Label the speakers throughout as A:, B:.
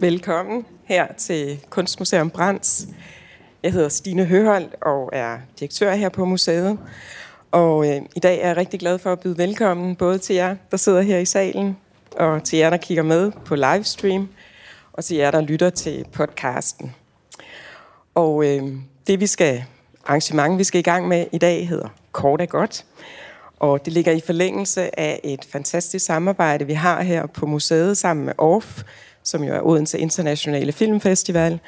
A: Velkommen her til Kunstmuseum Brands. Jeg hedder Stine Høholdt og er direktør her på museet. Og øh, i dag er jeg rigtig glad for at byde velkommen både til jer, der sidder her i salen, og til jer, der kigger med på livestream, og til jer, der lytter til podcasten. Og øh, det vi skal arrangement, vi skal i gang med i dag, hedder Kort er godt. Og det ligger i forlængelse af et fantastisk samarbejde, vi har her på museet sammen med OFF, som jo er Odense Internationale Filmfestival,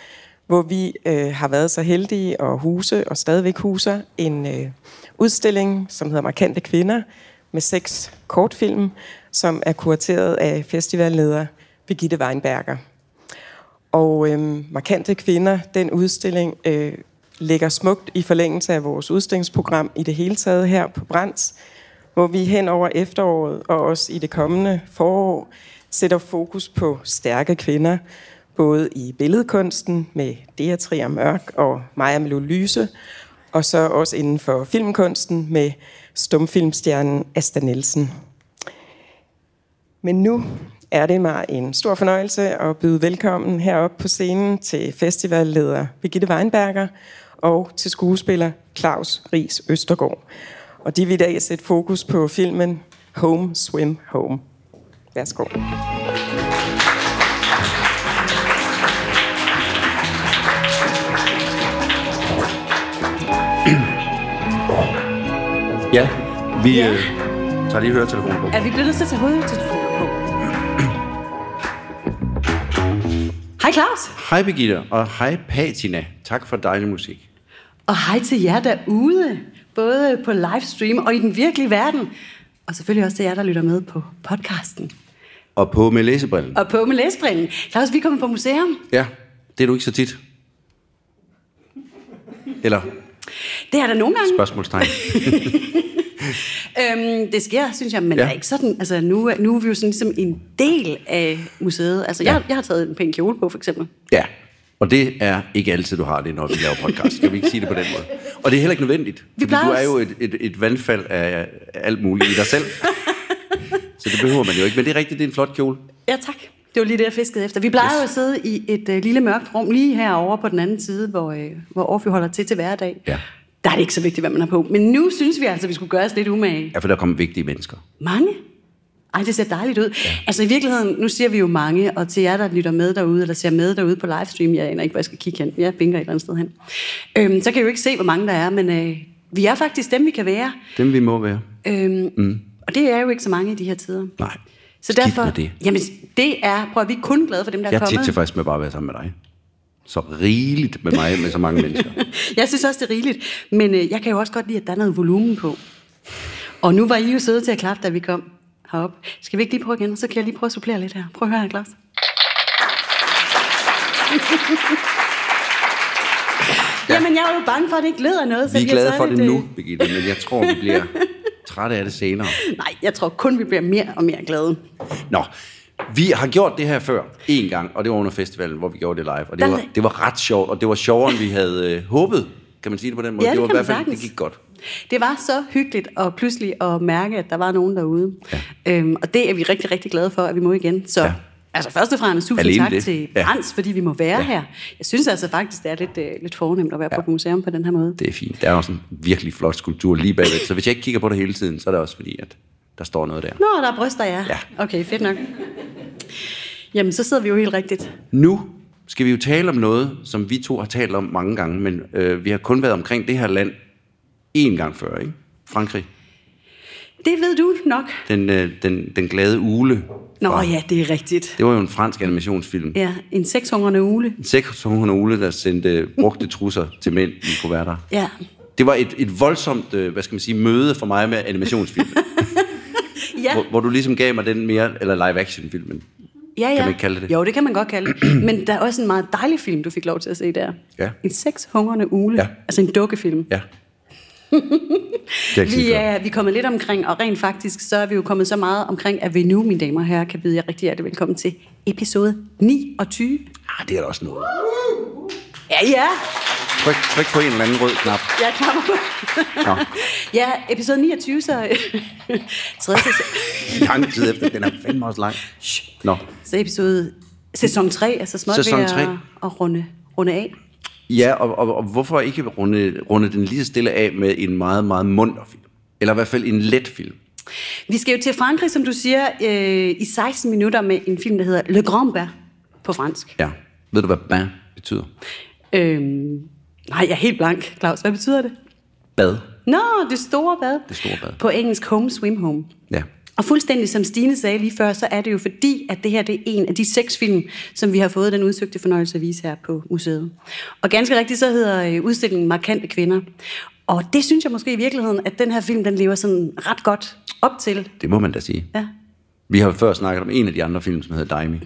A: hvor vi øh, har været så heldige at huse og stadigvæk huser en øh, udstilling, som hedder Markante Kvinder, med seks kortfilm, som er kurateret af festivalleder Birgitte Weinberger. Og øh, Markante Kvinder, den udstilling, øh, ligger smukt i forlængelse af vores udstillingsprogram i det hele taget her på Brands, hvor vi hen over efteråret og også i det kommende forår sætter fokus på stærke kvinder, både i billedkunsten med Dea Trier Mørk og Maja Melolyse, og så også inden for filmkunsten med stumfilmstjernen Asta Nielsen. Men nu er det mig en stor fornøjelse at byde velkommen herop på scenen til festivalleder Birgitte Weinberger og til skuespiller Claus Ries Østergaard. Og de vil i dag sætte fokus på filmen Home Swim Home. Værsgo.
B: Ja, vi
C: Ja.
B: ja. Øh, tager lige høretelefonen på.
C: Er vi blevet nødt til at tage hovedtelefoner på? Hej Claus,
B: Hej Birgitte, og hej Patina. Tak for dejlig musik.
C: og hej til jer derude, både på livestream og i den virkelige verden. Og selvfølgelig også til jer, der lytter med på podcasten.
B: Og på med læsebrillen.
C: Og på med læsebrillen. Claus, vi kommer på museum.
B: Ja, det er du ikke så tit. Eller
C: Det er der nogle gange.
B: spørgsmålstegn.
C: Øhm, det sker, synes jeg, men
B: Ja.
C: ja. er ikke sådan. Altså, nu, er- nu er vi jo sådan ligesom en del af museet. Altså, ja. jeg, jeg har taget en pæn kjole på, for eksempel.
B: Ja, og det er ikke altid, du har det, når vi laver podcast. Skal vi ikke sige det på den måde? Og det er heller ikke nødvendigt. fordi
C: plejer
B: du er
C: os-
B: jo et, et, et vandfald af af alt muligt i dig selv. Så det behøver man jo ikke. Men det er rigtigt, det er en flot kjole.
C: Ja, tak. Det var lige det, jeg fiskede efter. Vi plejer
B: Yes.
C: yes. jo at sidde i et øh, lille mørkt rum lige herovre på den anden side, hvor, øh, hvor Orfi holder til til hverdag.
B: Ja.
C: Der er det ikke så vigtigt, hvad man har på. Men nu synes vi altså, at vi skulle gøre os lidt umage.
B: Ja, for der kommer vigtige mennesker.
C: Mange? Ej, det ser dejligt ud. Ja. Altså i virkeligheden, nu siger vi jo mange, og til jer, der lytter med derude, eller ser med derude på livestream, jeg aner ikke, hvor jeg skal kigge hen. Jeg vinker et eller andet sted hen. Øhm, så kan I jo ikke se, hvor mange der er, men øh, vi er faktisk dem, vi kan være.
B: Dem vi må være.
C: Øhm, mm. Og det er jo ikke så mange i de her tider.
B: Nej.
C: Så
B: Skidt
C: derfor,
B: med det.
C: Jamen, det er, prøv at vi er kun glade for dem, der
B: Jeg
C: er
B: er tit
C: kommet.
B: tilfreds med bare at være sammen med dig. Så rigeligt med mig, med så mange mennesker.
C: Jeg synes også, det er rigeligt, men øh, jeg kan jo også godt lide, at der er noget volumen på. Og nu var I jo søde til at klappe, da vi kom herop. Skal vi ikke lige prøve igen? Så kan jeg lige prøve at supplere lidt her. Prøv at høre her, Claus. Jamen, jeg er jo bange for, at det ikke lyder noget. så
B: Vi er
C: jeg har
B: glade
C: taget
B: for det
C: lidt, øh,
B: nu, Birgitte, men jeg tror, vi bliver trætte af det senere.
C: Nej, jeg tror kun, vi bliver mere og mere glade.
B: Nå, vi har gjort det her før, en gang, og det var under festivalen, hvor vi gjorde det live. Og det,
C: Der-
B: var, det var ret sjovt, og det var sjovere, end vi havde øh, håbet. Kan man sige det på den måde?
C: Ja, det
B: var i
C: kan man
B: hvert fald,
C: sagtens.
B: det gik godt.
C: Det var så hyggeligt og pludselig at mærke, at der var nogen derude. Ja. Øhm, og det er vi rigtig, rigtig glade for, at vi må igen. Så
B: Ja.
C: ja. altså først og fremmest tusind
B: Alene
C: tak
B: det.
C: til
B: Ja.
C: Brands, ja. fordi vi må være
B: Ja.
C: ja. her. Jeg synes altså faktisk, det er lidt, øh, lidt fornemt at være ja. på et museum på den her måde.
B: Det er fint. Der er også en virkelig flot skulptur lige bagved. Så hvis jeg ikke kigger på det hele tiden, så er det også fordi, at der står noget der.
C: Nå, der er bryster, ja.
B: Ja.
C: Okay, fedt nok. Jamen, så sidder vi jo helt rigtigt.
B: Nu skal vi jo tale om noget, som vi to har talt om mange gange, men øh, vi har kun været omkring det her land én gang før, ikke? Frankrig.
C: Det ved du nok.
B: Den, øh, den, den glade ule.
C: Nå
B: fra-
C: ja, det er rigtigt.
B: Det var jo en fransk animationsfilm.
C: Ja, en sekshungrende ule.
B: 600 ule, der sendte brugte trusser til mænd i kuverter.
C: Ja.
B: Det var et, et voldsomt, øh, hvad skal man sige, møde for mig med animationsfilm,
C: Ja.
B: hvor, hvor du ligesom gav mig den mere, eller live-action-filmen.
C: Ja, ja.
B: man ikke kalde det det?
C: Jo, det kan man godt kalde det. Men der er også en meget dejlig film, du fik lov til at se der.
B: Ja.
C: En sekshungrende ule.
B: Ja.
C: Altså en dukkefilm.
B: Ja. Det er ikke
C: Vi
B: sige før.
C: er, vi er kommet lidt omkring, og rent faktisk, så er vi jo kommet så meget omkring, at vi nu, mine damer og herrer, kan byde jer rigtig hjertelig velkommen til episode 29.
B: Ah, det er da også noget.
C: Ja, ja,
B: Tryk, tryk på en eller anden rød knap.
C: jeg klapper på.
B: Nå.
C: Ja, episode 29, så... tredje sæson.
B: lang tid efter. Den er fandme også lang. Nå,
C: Så episode Sæson 3, altså småt
B: Sæson
C: ved at,
B: tre.
C: at runde, runde af.
B: Ja, og, og, og hvorfor ikke runde, runde den lige så stille af med en meget, meget munter film? Eller i hvert fald en let film.
C: Vi skal jo til Frankrig, som du siger, øh, i 16 minutter med en film, der hedder Le Grand Bain på fransk.
B: Ja. Ved du, hvad bain betyder?
C: Øhm, nej, jeg er helt blank, Claus. Hvad betyder det?
B: Bad.
C: Nå, det store bad.
B: Det store bad.
C: På engelsk home swim home.
B: Ja.
C: Og fuldstændig som Stine sagde lige før, så er det jo fordi, at det her det er en af de seks film, som vi har fået den udsøgte fornøjelse at vise her på museet. Og ganske rigtigt, så hedder øh, udstillingen Markante Kvinder. Og det synes jeg måske i virkeligheden, at den her film, den lever sådan ret godt op til.
B: Det må man da sige.
C: Ja.
B: Vi har jo før snakket om en af de andre film, som hedder Daimi,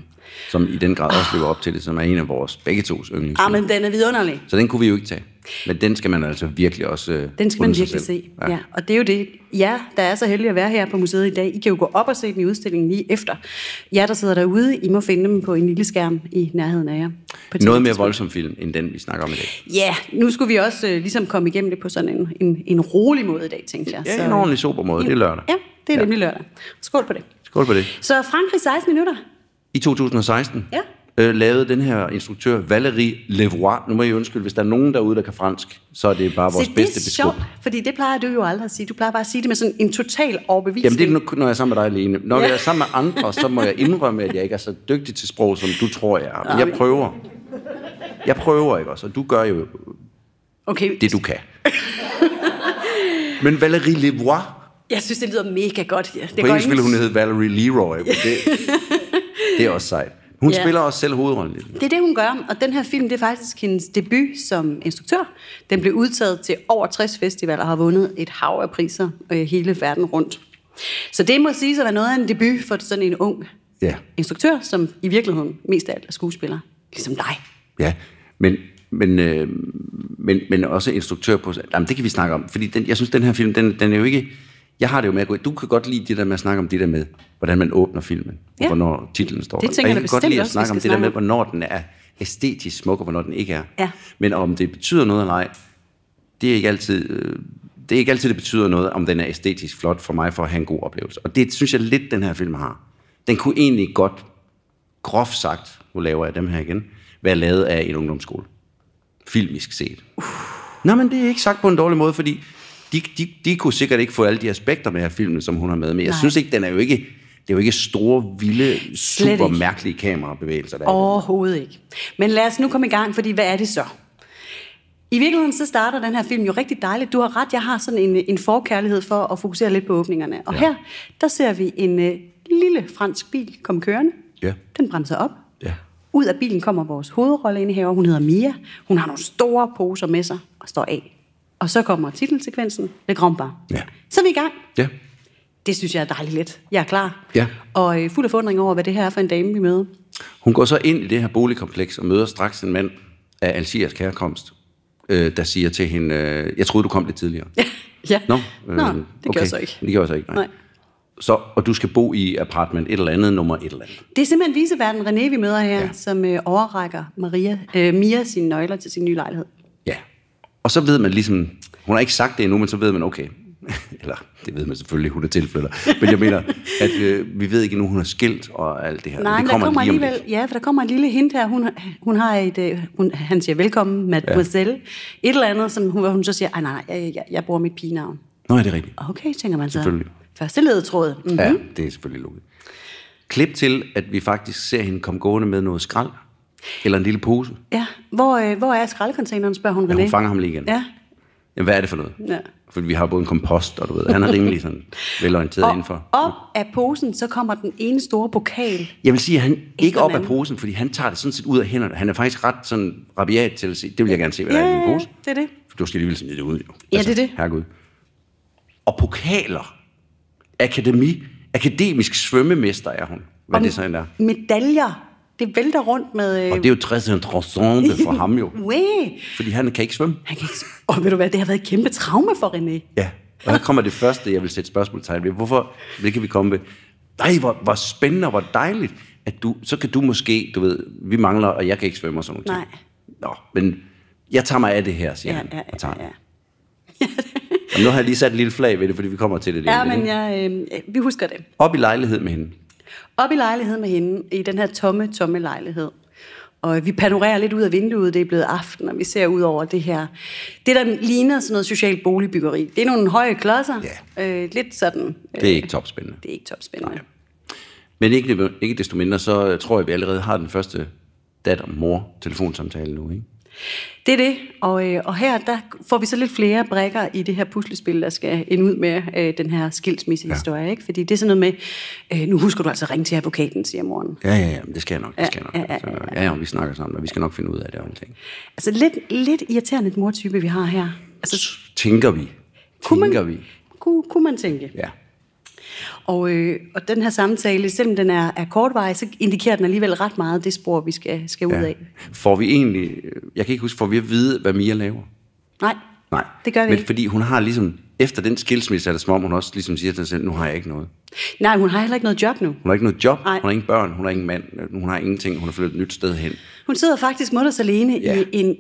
B: som i den grad også løber op til det, som er en af vores begge tos
C: Ah,
B: yndlingsfilm.
C: men den er vidunderlig.
B: Så den kunne vi jo ikke tage. Men den skal man altså virkelig også øh,
C: Den skal man
B: unde sig
C: virkelig
B: selv.
C: se. Ja. ja. Og det er jo det. Ja, der er så heldige at være her på museet i dag. I kan jo gå op og se den i udstillingen lige efter. Jer, der sidder derude, I må finde dem på en lille skærm i nærheden af jer. På et
B: Noget mere
C: tidspunkt.
B: voldsom film, end den, vi snakker om i dag.
C: Ja, nu skulle vi også øh, ligesom komme igennem det på sådan en, en, en rolig måde i dag, tænkte jeg.
B: Ja, en ordentlig sober måde. Det er lørdag.
C: Ja, det er
B: Ja.
C: nemlig lørdag. Skål på det.
B: Skål for det.
C: Så Frankrig 16 minutter.
B: I 2016
C: Ja.
B: øh, lavede den her instruktør Valérie Levois. Nu må jeg undskylde, hvis der er nogen derude, der kan fransk, så er det bare vores
C: Se, det er
B: bedste beskub.
C: sjovt, fordi det plejer du jo aldrig at sige. Du plejer bare at sige det med sådan en total
B: Jamen
C: overbevisning.
B: det er nu- når jeg er sammen med dig alene. Når
C: Ja.
B: jeg er sammen med andre, så må jeg indrømme, at jeg ikke er så dygtig til sprog, som du tror, jeg er. Men jeg prøver. Jeg prøver, ikke også? Og du gør jo
C: Okay,
B: det, du kan. Men Valérie Levois,
C: jeg synes, det lyder mega godt. Ja, det
B: på
C: går
B: engelsk
C: ingen-
B: ville hun hedde Valerie Leroy. men Det, det er også sejt. Hun
C: Ja.
B: spiller også selv hovedrollen i den.
C: Det er det, hun gør, og den her film, det er faktisk hendes debut som instruktør. Den blev udtaget til over 60 festivaler og har vundet et hav af priser øh, hele verden rundt. Så det må sige at være noget af en debut for sådan en ung
B: Ja.
C: instruktør, som i virkeligheden mest af alt er skuespiller, ligesom dig.
B: Ja, men, men, øh, men, men også instruktør på... Jamen, det kan vi snakke om, fordi den, jeg synes, den her film, den, den er jo ikke... Jeg har det jo med at gå... Du kan godt lide det der med at snakke om det der med, hvordan man åbner filmen, og
C: Ja.
B: hvornår titlen står.
C: Det
B: der.
C: tænker
B: og jeg
C: jeg
B: kan godt
C: bestemt
B: lide at
C: også, vi
B: snakke om det
C: skal
B: der med,
C: snakke
B: hvornår den er æstetisk smuk, og hvornår den ikke er.
C: Ja.
B: Men om det betyder noget eller ej, det er ikke altid... Øh, det er ikke altid, det betyder noget, om den er æstetisk flot for mig, for at have en god oplevelse. Og det synes jeg lidt, den her film har. Den kunne egentlig godt, groft sagt, nu laver jeg dem her igen, være lavet af en ungdomsskole filmisk set. Nå, men det er ikke sagt på en dårlig måde, fordi de, de, de kunne sikkert ikke få alle de aspekter med af filmen, som hun har med. Men jeg
C: Nej.
B: synes ikke, den er jo ikke, det er jo ikke store, vilde,
C: Slet
B: super
C: ikke.
B: mærkelige kamerabevægelser. Der er i den.
C: Overhovedet ikke. Men lad os nu komme i gang, fordi hvad er det så? I virkeligheden så starter den her film jo rigtig dejligt. Du har ret, jeg har sådan en, en forkærlighed for at fokusere lidt på åbningerne. Og ja. her, der ser vi en øh, lille fransk bil komme kørende.
B: Ja.
C: Den bremser op.
B: Ja.
C: Ud af bilen kommer vores hovedrolleindehaver. Hun hedder Mia. Hun har nogle store poser med sig og står af. Og så kommer titelsekvensen, Le Grand Bar.
B: Ja.
C: Så er vi i gang.
B: Ja.
C: Det synes jeg er dejligt let. Jeg er klar.
B: Ja.
C: Og øh, fuld af forundring over, hvad det her er for en dame, vi møder.
B: Hun går så ind i det her boligkompleks og møder straks en mand af algerisk herkomst, øh, der siger til hende, øh, jeg troede, du kom lidt tidligere.
C: ja.
B: Nå, øh,
C: Nå, det gør jeg så ikke.
B: Det gør jeg så ikke, nej.
C: Nej.
B: nej. Så, og du skal bo i apartment et eller andet, nummer et eller andet.
C: Det er simpelthen viseverden René, vi møder her, ja.
B: Ja.
C: som øh, overrækker Maria, øh, Mia sine nøgler til sin nye lejlighed.
B: Ja. Og så ved man ligesom, hun har ikke sagt det endnu, men så ved man, okay, eller det ved man selvfølgelig, hun er tilflytter. Men jeg mener, at øh, vi ved ikke endnu, hun er skilt og alt det her. Men
C: Nej,
B: det
C: men der kommer
B: lige om lidt.
C: alligevel, ja, for der kommer et lille hint her. Hun, hun har et, øh, hun, han siger, velkommen, mademoiselle. Ja. Et eller andet, som hun, hvor hun så siger, "Ej, nej, nej, jeg, jeg, jeg bruger mit pigenavn.
B: Nå, ja, det er rigtigt.
C: Okay, tænker man så.
B: Selvfølgelig.
C: Første ledetråd. Mm.
B: Ja, det er selvfølgelig logisk. Klip til, at vi faktisk ser hende komme gående med noget skrald, eller en lille pose.
C: Ja. Hvor, øh, hvor er skraldecontaineren, spørger hun René.
B: Ja, hun fanger ham lige igen.
C: Ja.
B: Jamen, hvad er det for noget?
C: Ja.
B: Fordi vi har både en kompost, og du ved, han er rimelig sådan velorienteret
C: Og
B: indenfor.
C: op af posen, så kommer den ene store pokal.
B: Jeg vil sige, at han
C: Efter
B: ikke op af
C: manden.
B: posen, fordi han tager det sådan set ud af hænderne. Han er faktisk ret sådan rabiat til at se, det vil jeg gerne se, hvad der er i min pose.
C: det er det.
B: For du skal alligevel smide det ud, jo. Altså,
C: Ja, det er det.
B: Herregud. Og pokaler. Akademi. Akademisk svømmemester er hun. Hvad det så end er.
C: Medaljer. Det vælter rundt med...
B: Og det er jo très interessant for ham jo.
C: Way.
B: Fordi han kan ikke svømme.
C: Han kan ikke... Og ved du hvad, det har været et kæmpe traume for René.
B: Ja. Og her kommer det første, jeg vil sætte spørgsmålstegn ved. Hvorfor? Det kan vi komme ved. Nej, hvor, hvor spændende og hvor dejligt. At du, så kan du måske, du ved, vi mangler, og jeg kan ikke svømme og sådan noget.
C: Nej.
B: Nå, men jeg tager mig af det her, siger
C: Ja,
B: han.
C: ja,
B: og
C: ja.
B: tager
C: ja.
B: den. Og nu har jeg lige sat et lille flag ved det, fordi vi kommer til det lige. om
C: ja
B: lidt,
C: men
B: ikke?
C: jeg, øh, vi husker det.
B: Op i lejlighed med hende.
C: Op i lejligheden med hende, i den her tomme, tomme lejlighed. Og vi panorerer lidt ud af vinduet, det er blevet aften, og vi ser ud over det her. Det, der ligner sådan noget socialt boligbyggeri, det er nogle høje klodser.
B: Ja.
C: Øh, lidt sådan. Øh,
B: Det er ikke topspændende.
C: det er ikke topspændende. Nej.
B: Men ikke, ikke desto mindre, så tror jeg, vi allerede har den første datter-mor-telefonsamtale nu, ikke?
C: Det er det, og, øh, og her der får vi så lidt flere brækker i det her puslespil, der skal ende ud med øh, den her skilsmissehistorie. Ja. Ikke? Fordi det er sådan noget med, øh, nu husker du altså at ringe til advokaten, siger moren.
B: Ja, ja, ja, men det skal jeg nok, det skal jeg nok. Så, ja, ja, vi snakker sammen, og vi skal nok finde ud af det og ting.
C: Altså lidt, lidt irriterende et mortype, vi har her. Altså,
B: Tænker vi. Tænker vi.
C: Kunne, kunne man tænke.
B: Ja.
C: Og, øh, og den her samtale, selvom den er, er kortvarig, så indikerer den alligevel ret meget det spor, vi skal, skal ud
B: ja.
C: af.
B: Får vi egentlig, jeg kan ikke huske, får vi at vide, hvad Mia laver?
C: Nej,
B: Nej.
C: det gør vi
B: Men
C: ikke.
B: fordi hun har ligesom, efter den skilsmisse, er det som om, hun også ligesom siger til sig selv, nu har jeg ikke noget.
C: Nej, hun har heller ikke noget job nu.
B: Hun har ikke noget job,
C: Nej.
B: Ej. hun har ingen børn, hun har ingen mand, hun har ingenting, hun har flyttet et nyt sted hen.
C: Hun sidder faktisk mutters alene ja.
B: Ja.
C: i en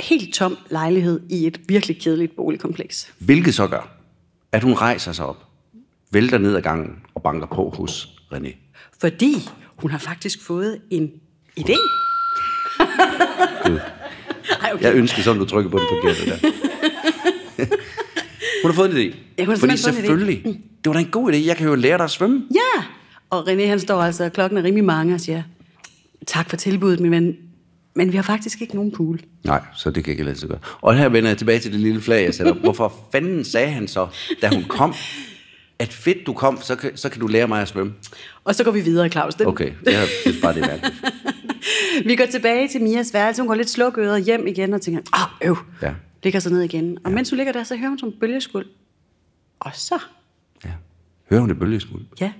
C: helt tom lejlighed i et virkelig kedeligt boligkompleks.
B: Hvilket så gør, at hun rejser sig op, vælter ned ad gangen og banker på hos René.
C: Fordi hun har faktisk fået en idé. Ej, okay.
B: Jeg ønsker sådan, du trykker på den forkerte der. hun har fået en idé.
C: Ja, hun har
B: Fordi
C: simpelthen fået en idé. Mm.
B: selvfølgelig, det var da en god idé. Jeg kan jo lære dig at svømme.
C: Ja! Og René han står altså, og klokken er rimelig mange og siger, tak for tilbuddet, min ven, men vi har faktisk ikke nogen pool.
B: Nej, så det kan ikke lade sig gøre. Og her vender jeg tilbage til det lille flag, jeg sætter. op. Hvorfor fanden sagde han så, da hun kom, at fedt du kom, så kan, så kan du lære mig at svømme?
C: Og så går vi videre, Claus. Den,
B: Okay, jeg har synes bare, det er mærkeligt.
C: Vi går tilbage til Mias værelse. Hun går lidt slukøret hjem igen og tænker, åh, øv.
B: Ja.
C: Ligger sig ned igen. Og mens hun ligger der, så hører hun som bølgeskuld. Og så,
B: Ja. Hører hun det bølgesmuld?
C: ja, der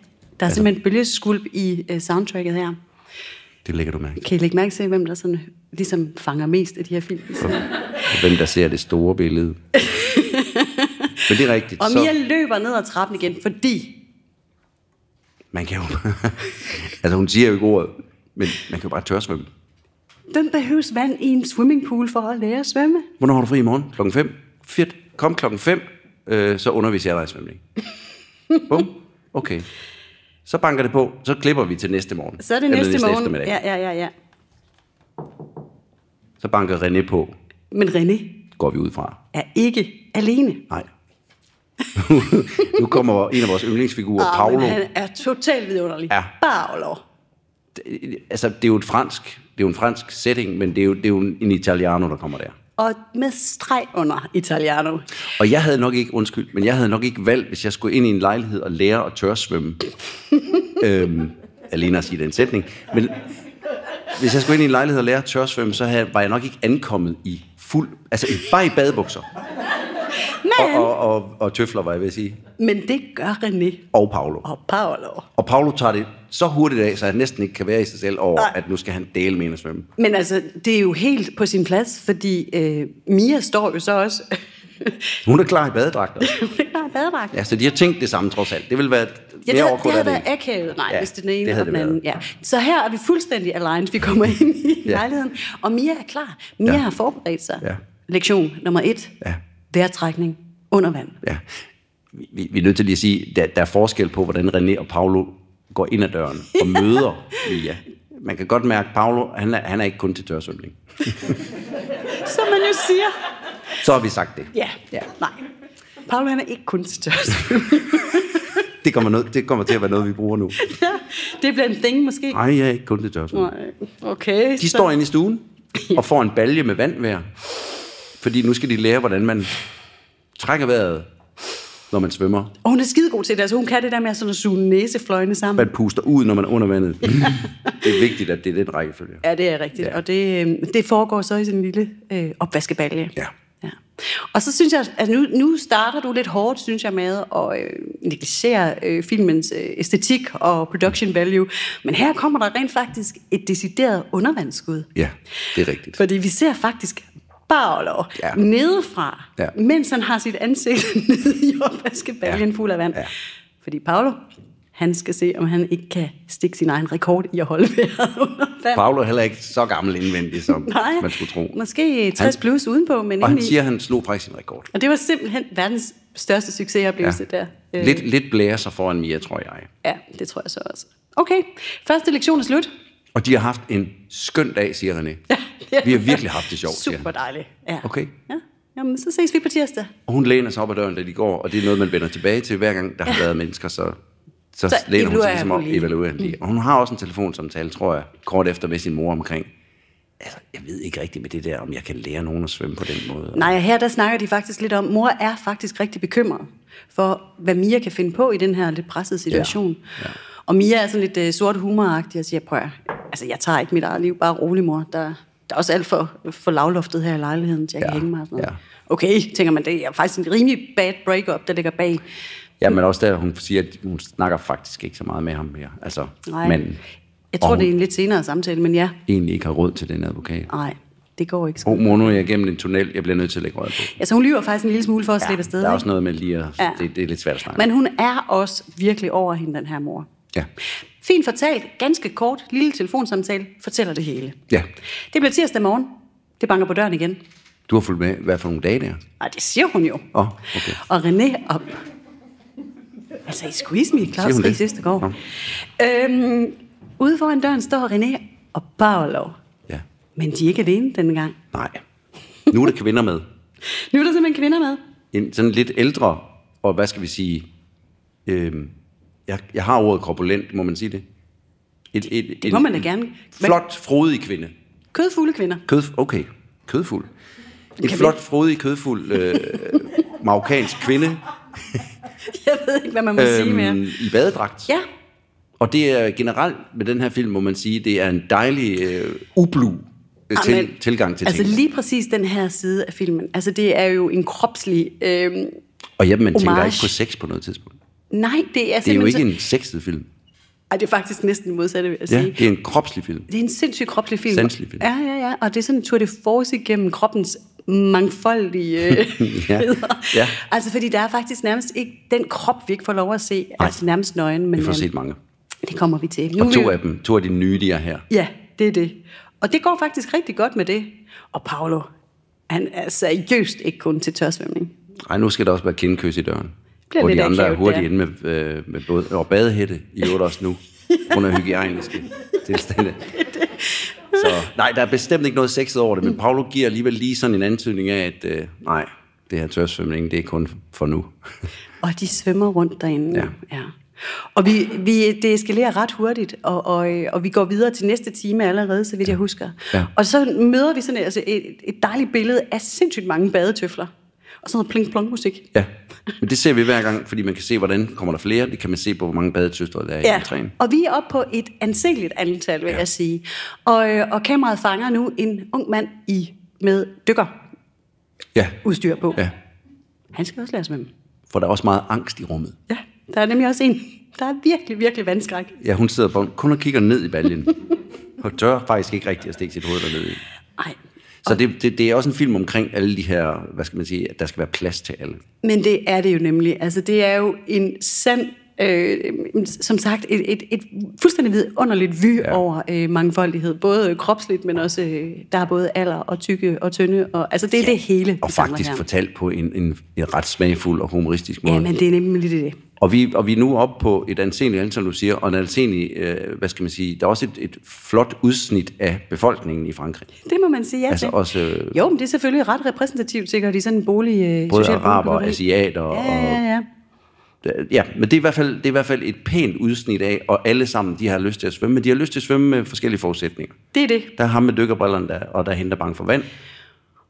C: er
B: Altså-
C: simpelthen bølgeskuld i øh, soundtracket her.
B: Det lægger du mærke til.
C: Kan I lægge mærke til, hvem der sådan, ligesom fanger mest af de her film?
B: Og Hvem der ser det store billede. Men det er rigtigt.
C: Og
B: så-
C: Mia løber ned ad trappen igen, fordi...
B: Man kan jo... altså, hun siger jo ikke ordet, men man kan jo bare tørsvømme.
C: Den behøves vand i en swimmingpool for at lære at svømme.
B: Hvornår har du fri i morgen? Klokken 5? Fedt. Kom klokken 5, øh, så underviser jeg dig i svømning. Bum. Okay. Så banker det på, så klipper vi til næste morgen.
C: Så er det
B: Eller
C: næste, morgen.
B: eftermiddag.
C: Ja, ja, ja, ja.
B: Så banker René på,
C: Men René
B: går vi ud fra.
C: er ikke alene.
B: Nej. nu kommer en af vores yndlingsfigurer,
C: Ah, men
B: Paolo.
C: han er totalt vidunderlig.
B: Ja.
C: Paolo.
B: Altså, det er jo et fransk, det er jo en fransk setting, men det er jo, det er jo en italiano, der kommer der.
C: Og med streg under Italiano.
B: Og jeg havde nok ikke, undskyld, men jeg havde nok ikke valgt, hvis jeg skulle ind i en lejlighed og lære at tørsvømme. øhm, alene at sige den sætning. Men hvis jeg skulle ind i en lejlighed og lære at tørsvømme, så havde, var jeg nok ikke ankommet i fuld... Altså i- bare i badebukser.
C: Men,
B: Og, og, og, og tøfler, var jeg ved at sige.
C: men det gør René
B: Og Paolo.
C: og Paolo.
B: Og Paolo tager det så hurtigt af, så han næsten ikke kan være i sig selv over,
C: Nej.
B: at nu skal han dele med at svømme.
C: Men altså, det er jo helt på sin plads, fordi øh, Mia står jo så også...
B: Hun er klar i badedragter.
C: Hun er klar i badedragt.
B: ja, så de har tænkt det samme trods alt. Det vil være...
C: Ja, det,
B: mere
C: havde, det
B: awkward
C: havde
B: er ikke.
C: været akavet, nej, ja,
B: Ja,
C: hvis det er den ene
B: det havde
C: og den
B: det
C: anden. Ja. Så her er vi fuldstændig aligned. Vi kommer ind i
B: Ja.
C: ja. lejligheden, og Mia er klar. Mia ja.
B: Ja.
C: har forberedt sig.
B: Ja.
C: Lektion nummer et.
B: Ja.
C: Vejrtrækning under vand.
B: Ja. Vi, vi- vi er nødt til lige at sige, der, der er forskel på, hvordan René og Paolo går ind ad døren og møder Mia. Man kan godt mærke, at Paolo, han er, han er ikke kun til tørsvømning.
C: Som man jo siger.
B: Så har vi sagt det.
C: Ja, ja. nej. Paolo, han er ikke kun til tørst.
B: Det kommer, noget, det kommer til at være noget, vi bruger nu.
C: det bliver en thing, måske.
B: Nej, jeg er ikke kun til tørsvømning.
C: Nej. Okay.
B: De
C: så-
B: står inde i stuen og får en balje med vand hver. Fordi nu skal de lære, hvordan man trækker vejret, når man svømmer.
C: Og hun er skidegod til det. Altså, hun kan det der med sådan at suge næsefløjene sammen.
B: Man puster ud, når man er under vandet. Det er vigtigt, at det er den rækkefølge.
C: Ja, det er rigtigt. Ja.
B: Ja.
C: Og det, øh, det foregår så i sådan en lille øh, opvaskebalje.
B: Ja.
C: ja. Og så synes jeg, at nu, nu starter du lidt hårdt, synes jeg, med at øh, negligere øh, filmens øh, æstetik og production value. Men her kommer der rent faktisk et decideret undervandsskud.
B: Ja, det er rigtigt.
C: Fordi vi ser faktisk Paolo ja.
B: Ja.
C: nedefra, ja.
B: Ja.
C: mens han har sit ansigt nede i opvaskebaljen ja.
B: Ja.
C: fuld af vand. Ja.
B: Ja.
C: Fordi Paolo, han skal se, om han ikke kan stikke sin egen rekord i at holde vejret under vand.
B: Paolo er heller ikke så gammel indvendig, som
C: Nej,
B: man skulle tro.
C: måske 60 han,
B: Han-
C: plus udenpå, men
B: Og han
C: indeni.
B: siger, at han slog faktisk sin rekord.
C: Og det var simpelthen verdens største succesoplevelse ja. der. Øh,
B: Lidt, lidt blæser foran Mia, tror jeg.
C: Ja, det tror jeg så også. Okay, første lektion er slut.
B: Og de har haft en skøn dag, siger René.
C: Ja.
B: Vi har virkelig haft det sjovt, siger
C: Super
B: han.
C: dejligt. Ja.
B: Okay.
C: Ja. Jamen, så ses vi på tirsdag.
B: Og hun læner sig op ad døren, da de går, og det er noget, man vender tilbage til hver gang, der har været mennesker, så, så,
C: Så
B: så læner hun
C: evaluerer
B: sig ligesom
C: hun
B: op,
C: lige. Mm.
B: evaluerer hende lige. Og hun har også en telefonsamtale, tror jeg, kort efter med sin mor omkring, altså, jeg ved ikke rigtigt med det der, om jeg kan lære nogen at svømme på den måde.
C: Nej, her der snakker de faktisk lidt om, mor er faktisk rigtig bekymret for, hvad Mia kan finde på i den her lidt pressede situation. Ja. Ja. Og Mia er sådan lidt øh, sort humoragtig og siger, prøv at, høre, altså jeg tager ikke mit eget liv, bare rolig mor, der, der er også alt for, for lavloftet her i lejligheden, til jeg ja.
B: Ja.
C: kan hænge mig og sådan noget.
B: Ja.
C: Ja. Okay, tænker man, det er faktisk en rimelig bad breakup, der ligger bag.
B: Ja, men også der, hun siger, at hun snakker faktisk ikke så meget med ham mere. Altså,
C: Nej.
B: manden
C: jeg tror,
B: og
C: det er
B: hun-
C: en lidt senere samtale, men ja,
B: egentlig ikke har råd til den advokat.
C: nej, det går ikke.
B: Åh, oh, mor, nu er jeg igennem en tunnel, jeg bliver nødt til at lægge røret på.
C: Altså hun lyver faktisk en lille smule for at ja, slippe afsted.
B: der er
C: ikke?
B: også noget med lige at,
C: Ja.
B: ja. det, det, er lidt svært at snakke
C: Men hun er også virkelig over hende, den her mor.
B: Ja.
C: Fint fortalt, ganske kort, lille telefonsamtale, fortæller det hele.
B: ja,
C: Det bliver tirsdag morgen. Det banker på døren igen.
B: du har fulgt med, hvad for nogle dage der?
C: Ej, det siger hun jo.
B: Åh, oh, okay.
C: Og René op. Altså, I skulle isme i Claus
B: Siger hun
C: Ries
B: det?
C: Østergaard. Øhm, ude foran døren står René og Paolo.
B: Ja.
C: Men de er ikke alene denne gang.
B: Nej. Nu er der kvinder med.
C: Nu er der simpelthen kvinder med.
B: En sådan lidt ældre, og hvad skal vi sige, øhm, jeg, jeg har ordet korpulent, må man sige det? Et, et,
C: Det må man da gerne. Men-
B: Flot, frodig kvinde.
C: Kødfulde kvinder.
B: Kød, okay, kødfuld. En
C: vi-
B: flot, frodig, kødfuld øh, marokkansk kvinde
C: Jeg ved ikke, hvad man må øhm, sige mere.
B: øhm, i badedragt.
C: Ja,
B: Og det er generelt med den her film, må man sige, det er en dejlig øh, ublu øh,
C: Amen.
B: til, tilgang til
C: Altså
B: tingene.
C: lige præcis den her side af filmen. Altså det er jo en kropslig... Øhm,
B: Og ja, man tænker
C: homage.
B: ikke på sex på noget tidspunkt.
C: nej, det er simpelthen...
B: Det er jo ikke
C: så-
B: en sexet film.
C: Ej, det er faktisk næsten modsatte, vil jeg
B: Ja,
C: sige.
B: det er en kropslig film.
C: Det er en sindssygt kropslig film.
B: Sanselig film.
C: Ja, ja, ja. Og det er sådan en tour de force gennem kroppens mangfoldige øh,
B: Ja,
C: heder.
B: ja.
C: Altså, fordi der er faktisk nærmest ikke den krop, vi ikke får lov at se. Nej. Altså nærmest nøgen, men
B: Vi får
C: øhm,
B: set mange.
C: det kommer vi til. Nu
B: Og
C: er vi-
B: to af dem, to af de nye, de er her.
C: Ja, det er det. Og det går faktisk rigtig godt med det. Og Paolo, han er seriøst ikke kun til tørsvømning.
B: Ej, nu skal der også være kindkys i døren.
C: Bliver
B: Bliver hvor
C: lidt
B: de andre er
C: akavet,
B: hurtigt
C: det
B: inde med, øh, med både, og badehætte i øvrigt også nu, under hygiejniske tilstande. Så nej, der er bestemt ikke noget sexet over det, men Paolo giver alligevel lige sådan en antydning af, at øh, nej, det her tørsvømning, det er kun for nu.
C: Og de svømmer rundt derinde.
B: Ja.
C: ja. Og vi, vi, det eskalerer ret hurtigt, og, og, øh, og vi går videre til næste time allerede, så vidt jeg husker.
B: Ja.
C: Og så møder vi sådan altså et, et dejligt billede af sindssygt mange badetøfler. Og sådan noget pling-plong-musik.
B: Ja, men det ser vi hver gang, fordi man kan se, hvordan kommer der flere. Det kan man se på, hvor mange badetøster der er i entréen.
C: og vi er oppe på et anseligt antal, vil ja. jeg sige. Og, øh, og kameraet fanger nu en ung mand i med dykkerudstyr
B: Ja,
C: på.
B: ja,
C: Han skal også lære at svømme.
B: for der er også meget angst i rummet.
C: Ja, der er nemlig også en, der er virkelig, virkelig vandskræk.
B: Ja, hun sidder bare kun og kigger ned i baljen. og tør faktisk ikke rigtig at stikke sit hoved derned i.
C: Ej,
B: Så det, det, det er også en film omkring alle de her, hvad skal man sige, at der skal være plads til alle.
C: Men det er det jo nemlig. Altså, det er jo en sand, øh, som sagt, et, et, et fuldstændig vidunderligt vy ja. over øh, mangfoldighed. Både kropsligt, men også, øh, der er både alder og tykke og tynde. Og, altså, det er ja. det hele,
B: Og
C: vi samler
B: faktisk
C: her.
B: fortalt på en, en, en ret smagfuld og humoristisk måde.
C: Ja, men det er nemlig det.
B: Og vi, og vi er nu oppe på et anseligt antal, som du siger, og en anseelig, øh, hvad skal man sige, der er også et, et flot udsnit af befolkningen i Frankrig.
C: Det må man sige ja
B: Altså
C: til.
B: også øh,
C: Jo, men det er selvfølgelig ret repræsentativt, sikkert, i sådan en bolig... Øh,
B: både
C: social
B: araber og
C: boligbyggeri.
B: asiater. Og,
C: Ja, ja, ja.
B: ja, men det er, i hvert fald, det er i hvert fald et pænt udsnit af, og alle sammen, de har lyst til at svømme, men de har lyst til at svømme med forskellige forudsætninger.
C: Det er det.
B: Der er ham med dykkerbrillerne, der, og der er hende, der er bange for vand.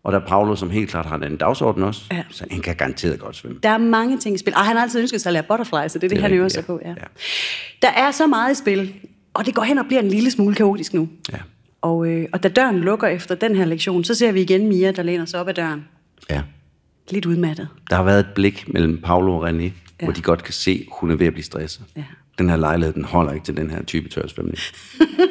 B: Og der er Paolo, som helt klart har en anden dagsorden også.
C: Ja.
B: Så han kan garanteret godt svømme.
C: Der er mange ting i spil. Og han har altid ønsket sig at lære butterfly, så det er det,
B: er
C: han
B: rigtigt,
C: øver sig
B: ja.
C: på. Ja.
B: Ja.
C: Der er så meget i spil, og det går hen og bliver en lille smule kaotisk nu.
B: Ja.
C: Og, øh, og da døren lukker efter den her lektion, så ser vi igen Mia, der læner sig op ad døren.
B: ja.
C: Lidt udmattet.
B: Der har været et blik mellem Paolo og René, ja. hvor de godt kan se, at hun er ved at blive stresset.
C: Ja.
B: Den her lejlighed, den holder ikke til den her type tørsvømning.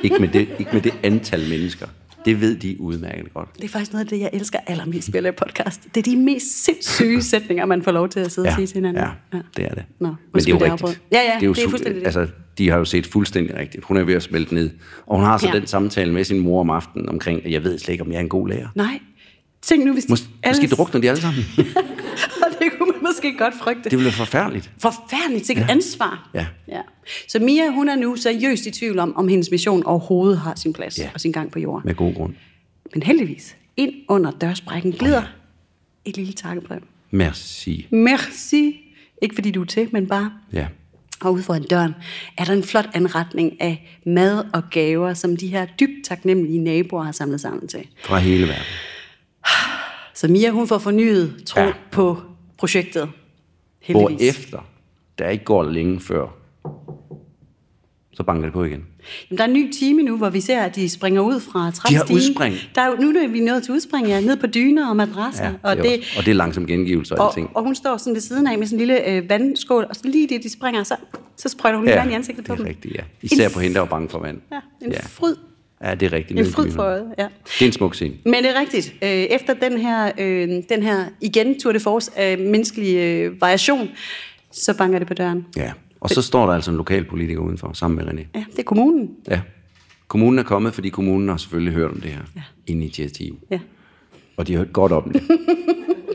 B: ikke, med det, ikke med det antal mennesker. Det ved de udmærket godt.
C: Det er faktisk noget af det, jeg elsker allermest ved at lave podcast. Det er de mest sindssyge sætninger, man får lov til at sidde og sige til hinanden.
B: Ja, ja, det er det.
C: Nå,
B: Men det er
C: undskyld,
B: jo rigtigt.
C: jeg afbrød. Ja, ja, det er
B: su-
C: fuldstændig det.
B: Altså, de har jo set fuldstændig rigtigt. Hun er ved at smelte ned. Og hun har så
C: Ja.
B: ja. den samtale med sin mor om aftenen omkring, at jeg ved slet ikke, om jeg er en god lærer.
C: Nej. Tænk nu, hvis de
B: Mås- Måske drukner de alle sammen.
C: og det kunne man måske godt frygte.
B: Det ville være forfærdeligt.
C: Forfærdeligt, sikkert ja. ansvar.
B: Ja.
C: ja. Så Mia, hun er nu seriøst i tvivl om, om hendes mission overhovedet har sin plads
B: Ja.
C: og sin gang på jorden.
B: Med god grund.
C: Men heldigvis, ind under dørsprækken glider et lille takkebrev.
B: Merci.
C: Merci. Ikke fordi du er til, men bare.
B: Ja.
C: Og ude foran døren er der en flot anretning af mad og gaver, som de her dybt taknemmelige naboer har samlet sammen til.
B: Fra hele verden.
C: Så Mia, hun får fornyet tro ja.
B: Ja.
C: på projektet.
B: Hvor
C: Heldigvis.
B: efter, der ikke går længe før, så banker det på igen.
C: Jamen, der er en ny time nu, hvor vi ser, at de springer ud fra
B: De har
C: træstigen.
B: udspring.
C: Der er, jo- nu er vi nået til udspring, ja. Ned på dyner og madrasser.
B: Ja,
C: Ja, og,
B: det er
C: det,
B: også- og det er langsom gengivelse og, og
C: og,
B: alting.
C: og hun står sådan ved siden af med sådan en lille øh, vandskål. Og så lige det, de springer, så, så sprøjter hun lige vand i ansigtet på
B: det er
C: dem.
B: rigtigt, ja. Især
C: En
B: på hende, der var bange for vand.
C: Ja, en
B: ja.
C: fryd.
B: ja det er rigtigt.
C: En
B: nede i
C: fryd
B: byen.
C: for øjet, ja.
B: Det er en smuk scene.
C: Men det er rigtigt. Øh, efter den her, øh, den her igen Tour de Force af menneskelig øh, variation, så banker det på døren.
B: Ja. Og så står der altså en lokal politiker udenfor, sammen med René.
C: Ja, det er kommunen.
B: Ja. Kommunen er kommet, fordi kommunen har selvfølgelig hørt om det her ja. initiativ.
C: Ja.
B: Og de har hørt godt om det.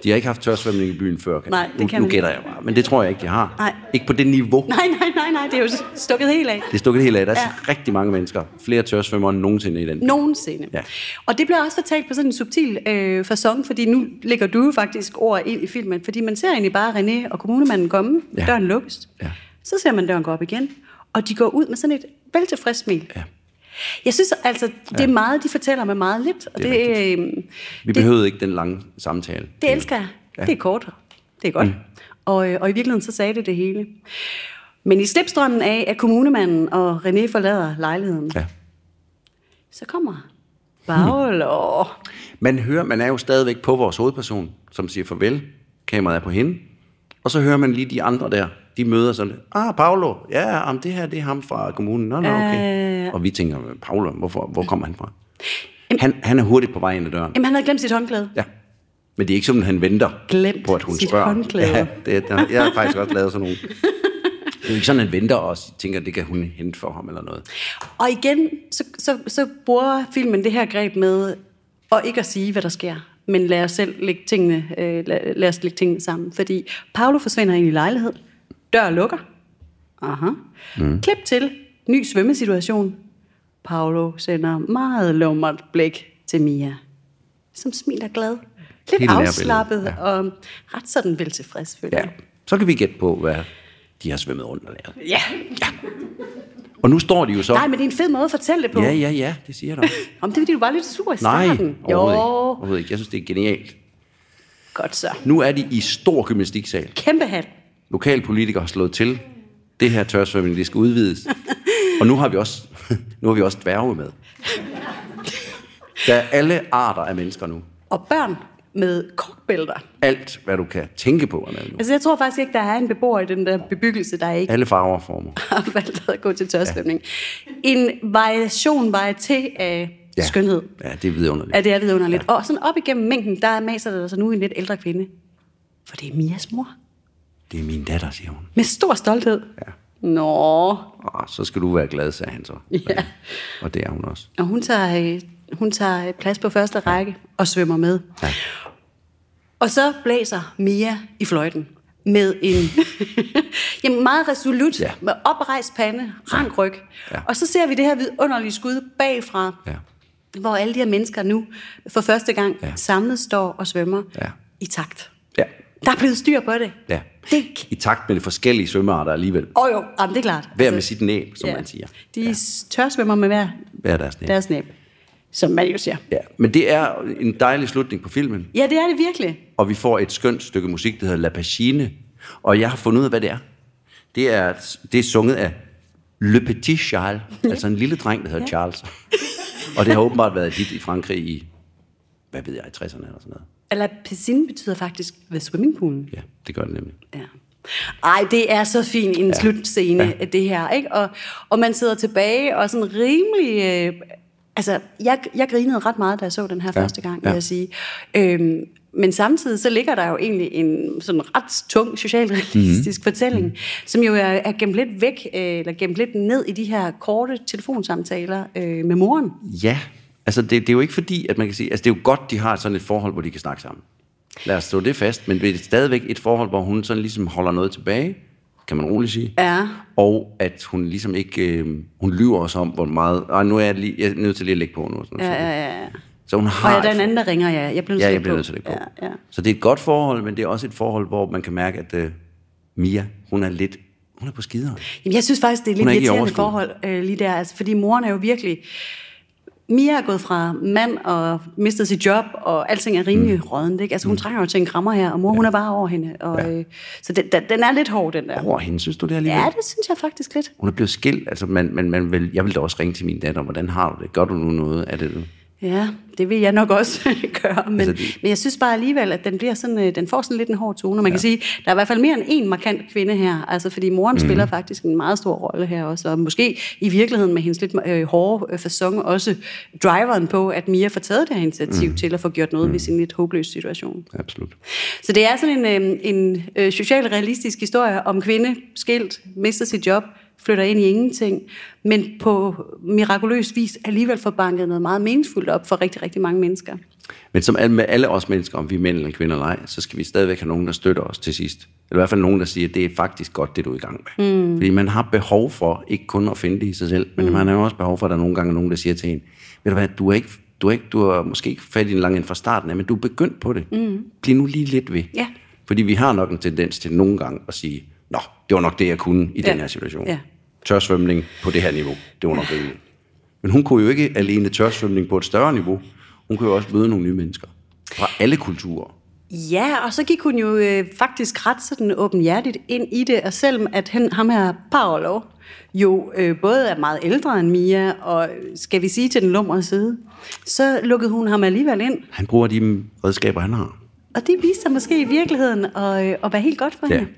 B: De har ikke haft tørsvømning i byen før. Kan
C: Nej, det
B: nu,
C: kan
B: nu
C: man
B: gætter jeg bare. Men det tror jeg ikke, de har.
C: Nej.
B: Ikke på det niveau.
C: Nej, nej, nej, nej, det er jo stukket helt af.
B: Det er stukket helt af. Der er
C: Ja.
B: ja. rigtig mange mennesker. Flere tørsvømmere end nogensinde i den.
C: Nogensinde.
B: Ja.
C: Og det bliver også fortalt på sådan en subtil øh, fasong, fordi nu lægger du jo faktisk ord ind i filmen, fordi man ser egentlig bare René og kommunemanden komme, ja.
B: Ja.
C: døren lukkes,
B: Ja.
C: så ser man døren gå op igen, og de går ud med sådan et veltilfreds smil.
B: Ja.
C: Jeg synes altså, det er meget, de fortæller mig meget lidt, og
B: Det er
C: det, det, øh,
B: Vi
C: det,
B: behøvede ikke den lange samtale.
C: det elsker jeg. Ja.
B: Ja.
C: Det er kort. Det er godt. Mm. Og, øh, og i virkeligheden så sagde det det hele. Men i slipstrømmen af, at kommunemanden og René forlader lejligheden,
B: Ja.
C: så kommer Bagel og...
B: Man hører, man er jo stadigvæk på vores hovedperson, som siger farvel. Kameraet er på hende. Og så hører man lige de andre der. De møder sådan, ah, Paolo, ja, om det her, det er ham fra kommunen. Nå, nå, okay.
C: Øh.
B: Og vi tænker, Paolo, hvorfor, hvor kommer han fra? Han, han er hurtigt på vej ind ad døren.
C: Jamen, han havde glemt sit håndklæde.
B: Ja. Men det er ikke sådan, at han venter
C: Glemt
B: på, at hun
C: sit
B: spørger.
C: håndklæde.
B: Ja, det, er- jeg har faktisk også lavet sådan nogle. Det er jo ikke sådan, at han venter og tænker, at det kan hun hente for ham eller noget.
C: Og igen, så, så, så bruger filmen det her greb med, og ikke at sige, hvad der sker, men lad os selv lægge tingene, øh, lad, lad os lægge tingene sammen. Fordi Paolo forsvinder ind i lejlighed, dør lukker, Aha. Mm. klip til, ny svømmesituation. Paolo sender meget lummert blik til Mia, som smiler glad. Lidt
B: Helt nærbillede,
C: afslappet
B: ja.
C: og ret sådan vel tilfreds, føler
B: Ja.
C: jeg.
B: Så kan vi gætte på, hvad de har svømmet rundt og lavet.
C: Ja.
B: Og nu står de jo så...
C: Nej, men det er en fed måde at fortælle det på.
B: Ja, ja, ja, det siger jeg da.
C: Om det er, fordi du var lidt sur i
B: Nej,
C: starten.
B: overhovedet ikke. overhovedet ikke. Jeg synes, det er genialt.
C: Godt så.
B: Nu er de i stor gymnastiksal.
C: Kæmpe hat.
B: Lokalpolitikere har slået til. Det her tørsvømning, det skal udvides. Og nu har vi også, nu har vi også dværge med. Der er alle arter af mennesker nu.
C: Og børn med korkbælter.
B: Alt, hvad du kan tænke på er med nu.
C: Altså, jeg tror faktisk ikke, der er en beboer i den der bebyggelse, der ikke
B: Alle farver og former.
C: har valgt at gå til tørsvømning. En variation, varieté af ja. skønhed.
B: Ja, det er vidunderligt.
C: Ja, det er vidunderligt. Ja. Og sådan op igennem mængden, der maser der sig nu en lidt ældre kvinde. For det er Mias mor.
B: Det er min datter, siger hun.
C: Med stor stolthed.
B: Ja.
C: Nå.
B: Åh, så skal du være glad, sagde han så.
C: Ja.
B: Og det er hun også.
C: Og hun tager, øh, hun tager øh, plads på første række og svømmer med.
B: Ja.
C: Og så blæser Mia i fløjten med en jamen meget resolut, ja.
B: Ja.
C: med oprejst pande, rank ryg. Ja.
B: Ja.
C: Og så ser vi det her vidunderlige skud bagfra,
B: Ja.
C: hvor alle de her mennesker nu for første gang ja.
B: Ja.
C: samlet står og svømmer
B: Ja.
C: i takt.
B: Ja.
C: Der er blevet styr på det.
B: ja.
C: Det
B: I takt med de forskellige svømmearter alligevel.
C: og jo, jamen, det er klart.
B: Hver med sit næb, som ja. man siger.
C: De ja. tørsvømmer med hver
B: Hver deres næb.
C: deres næb, som man jo siger.
B: Ja. Men det er en dejlig slutning på filmen.
C: Ja, det er det virkelig.
B: og vi får et skønt stykke musik, der hedder La Pagine. Og jeg har fundet ud af, hvad det er. Det er, det er sunget af Le Petit Charles, altså en lille dreng, der hedder Charles. og det har åbenbart været dit i Frankrig i, hvad ved jeg, i 60'erne eller sådan noget.
C: Eller piscine betyder faktisk ved swimmingpoolen.
B: Ja, det gør det nemlig.
C: Ja. Ej, det er så fin en ja. slutscene, ja. det her. Ikke? Og, og man sidder tilbage og sådan rimelig... Øh, altså, jeg, jeg grinede ret meget, da jeg så den her ja.
B: Ja,
C: første gang, vil
B: ja.
C: jeg sige. Øhm, men samtidig så ligger der jo egentlig en sådan ret tung socialrealistisk
B: Mhm.
C: mm-hmm. fortælling, som jo er, er gemt lidt væk, øh, eller gemt lidt ned i de her korte telefonsamtaler øh, med moren.
B: Ja, altså det, det er jo ikke fordi, at man kan sige, altså det er jo godt, de har sådan et forhold, hvor de kan snakke sammen. Lad os stå det fast, men det er stadigvæk et forhold, hvor hun sådan ligesom holder noget tilbage, kan man roligt sige.
C: Ja.
B: Og at hun ligesom ikke, øh, hun lyver os om, hvor meget, Ej, nu er jeg, lige, jeg er nødt til lige at lægge på nu. og Sådan
C: Ja,
B: noget.
C: ja, ja, ja.
B: Så hun
C: Og
B: har
C: ja, der er
B: et
C: en anden, der ringer, ja. Jeg bliver nødt
B: Ja,
C: til
B: jeg
C: at
B: bliver
C: gå.
B: nødt til at lægge på.
C: Ja, ja.
B: Så det er et godt forhold, men det er også et forhold, hvor man kan mærke, at uh, Mia, hun er lidt... Hun er på skideren.
C: Jamen, jeg synes faktisk, det er
B: Hun
C: lidt
B: er ikke i
C: irriterende
B: overskud.
C: forhold øh, lige der, altså, fordi moren er jo virkelig... Mia er gået fra mand og mistet sit job, og alting er rimelig mm. rådent, ikke? Altså, hun trænger jo til en krammer her, og mor, ja. hun er bare over hende. Og,
B: Ja.
C: ja. øh, så den, den, den er lidt hård, den der.
B: Over hende, synes du det alligevel?
C: Ja, det synes jeg faktisk lidt.
B: Hun er blevet skilt, altså man, man, man vil, jeg vil da også ringe til min datter, hvordan har du det? Gør du nu noget af det?
C: Ja, det vil jeg nok også gøre, men,
B: Altså,
C: altså,
B: det-
C: men jeg synes bare alligevel, at den, bliver sådan, øh, den får sådan lidt en hård tone, og man ja. kan sige, der er i hvert fald mere end en markant kvinde her, altså fordi moren mm. spiller faktisk en meget stor rolle her også, og måske i virkeligheden med hendes lidt øh, hårde øh, fasong også driveren på, at Mia får taget det her initiativ mm. til at få gjort noget mm. ved sin lidt håbløse situation.
B: Absolut.
C: Så det er sådan en, øh, en øh, socialrealistisk historie om kvinde, skilt, mister sit job, flytter ind i ingenting, men på mirakuløs vis alligevel får banket noget meget meningsfuldt op for rigtig, rigtig mange mennesker.
B: Men som alle, med alle os mennesker, om vi er mænd eller kvinder eller ej, så skal vi stadigvæk have nogen, der støtter os til sidst. Eller i hvert fald nogen, der siger, at det er faktisk godt, det du er i gang med. Mm. Fordi man har behov for, ikke kun at finde det i sig selv, men mm. man har jo også behov for, at der nogle gange er nogen, der siger til en, ved du hvad, du er ikke du er, ikke, du er måske ikke fat i en lang end fra starten af, men du er begyndt på det. Mm. Bliv nu lige lidt ved.
C: Ja.
B: Fordi vi har nok en tendens til nogle gange at sige, nå, det var nok det, jeg kunne i ja.
C: Ja.
B: den her situation.
C: Ja.
B: Tørsvømning på det her niveau, det var nok rimeligt. Men hun kunne jo ikke alene tørsvømning på et større niveau. Hun kunne jo også møde nogle nye mennesker fra alle kulturer.
C: Ja, og så gik hun jo øh, faktisk ret sådan åbenhjertigt ind i det, og selvom at han, ham her Paolo jo øh, både er meget ældre end Mia, og øh, skal vi sige til den lumre side, så lukkede hun ham alligevel ind,
B: Han bruger de redskaber, han har.
C: Og det viste sig måske i virkeligheden at, øh, at være helt godt for
B: Ja.
C: ja. hende.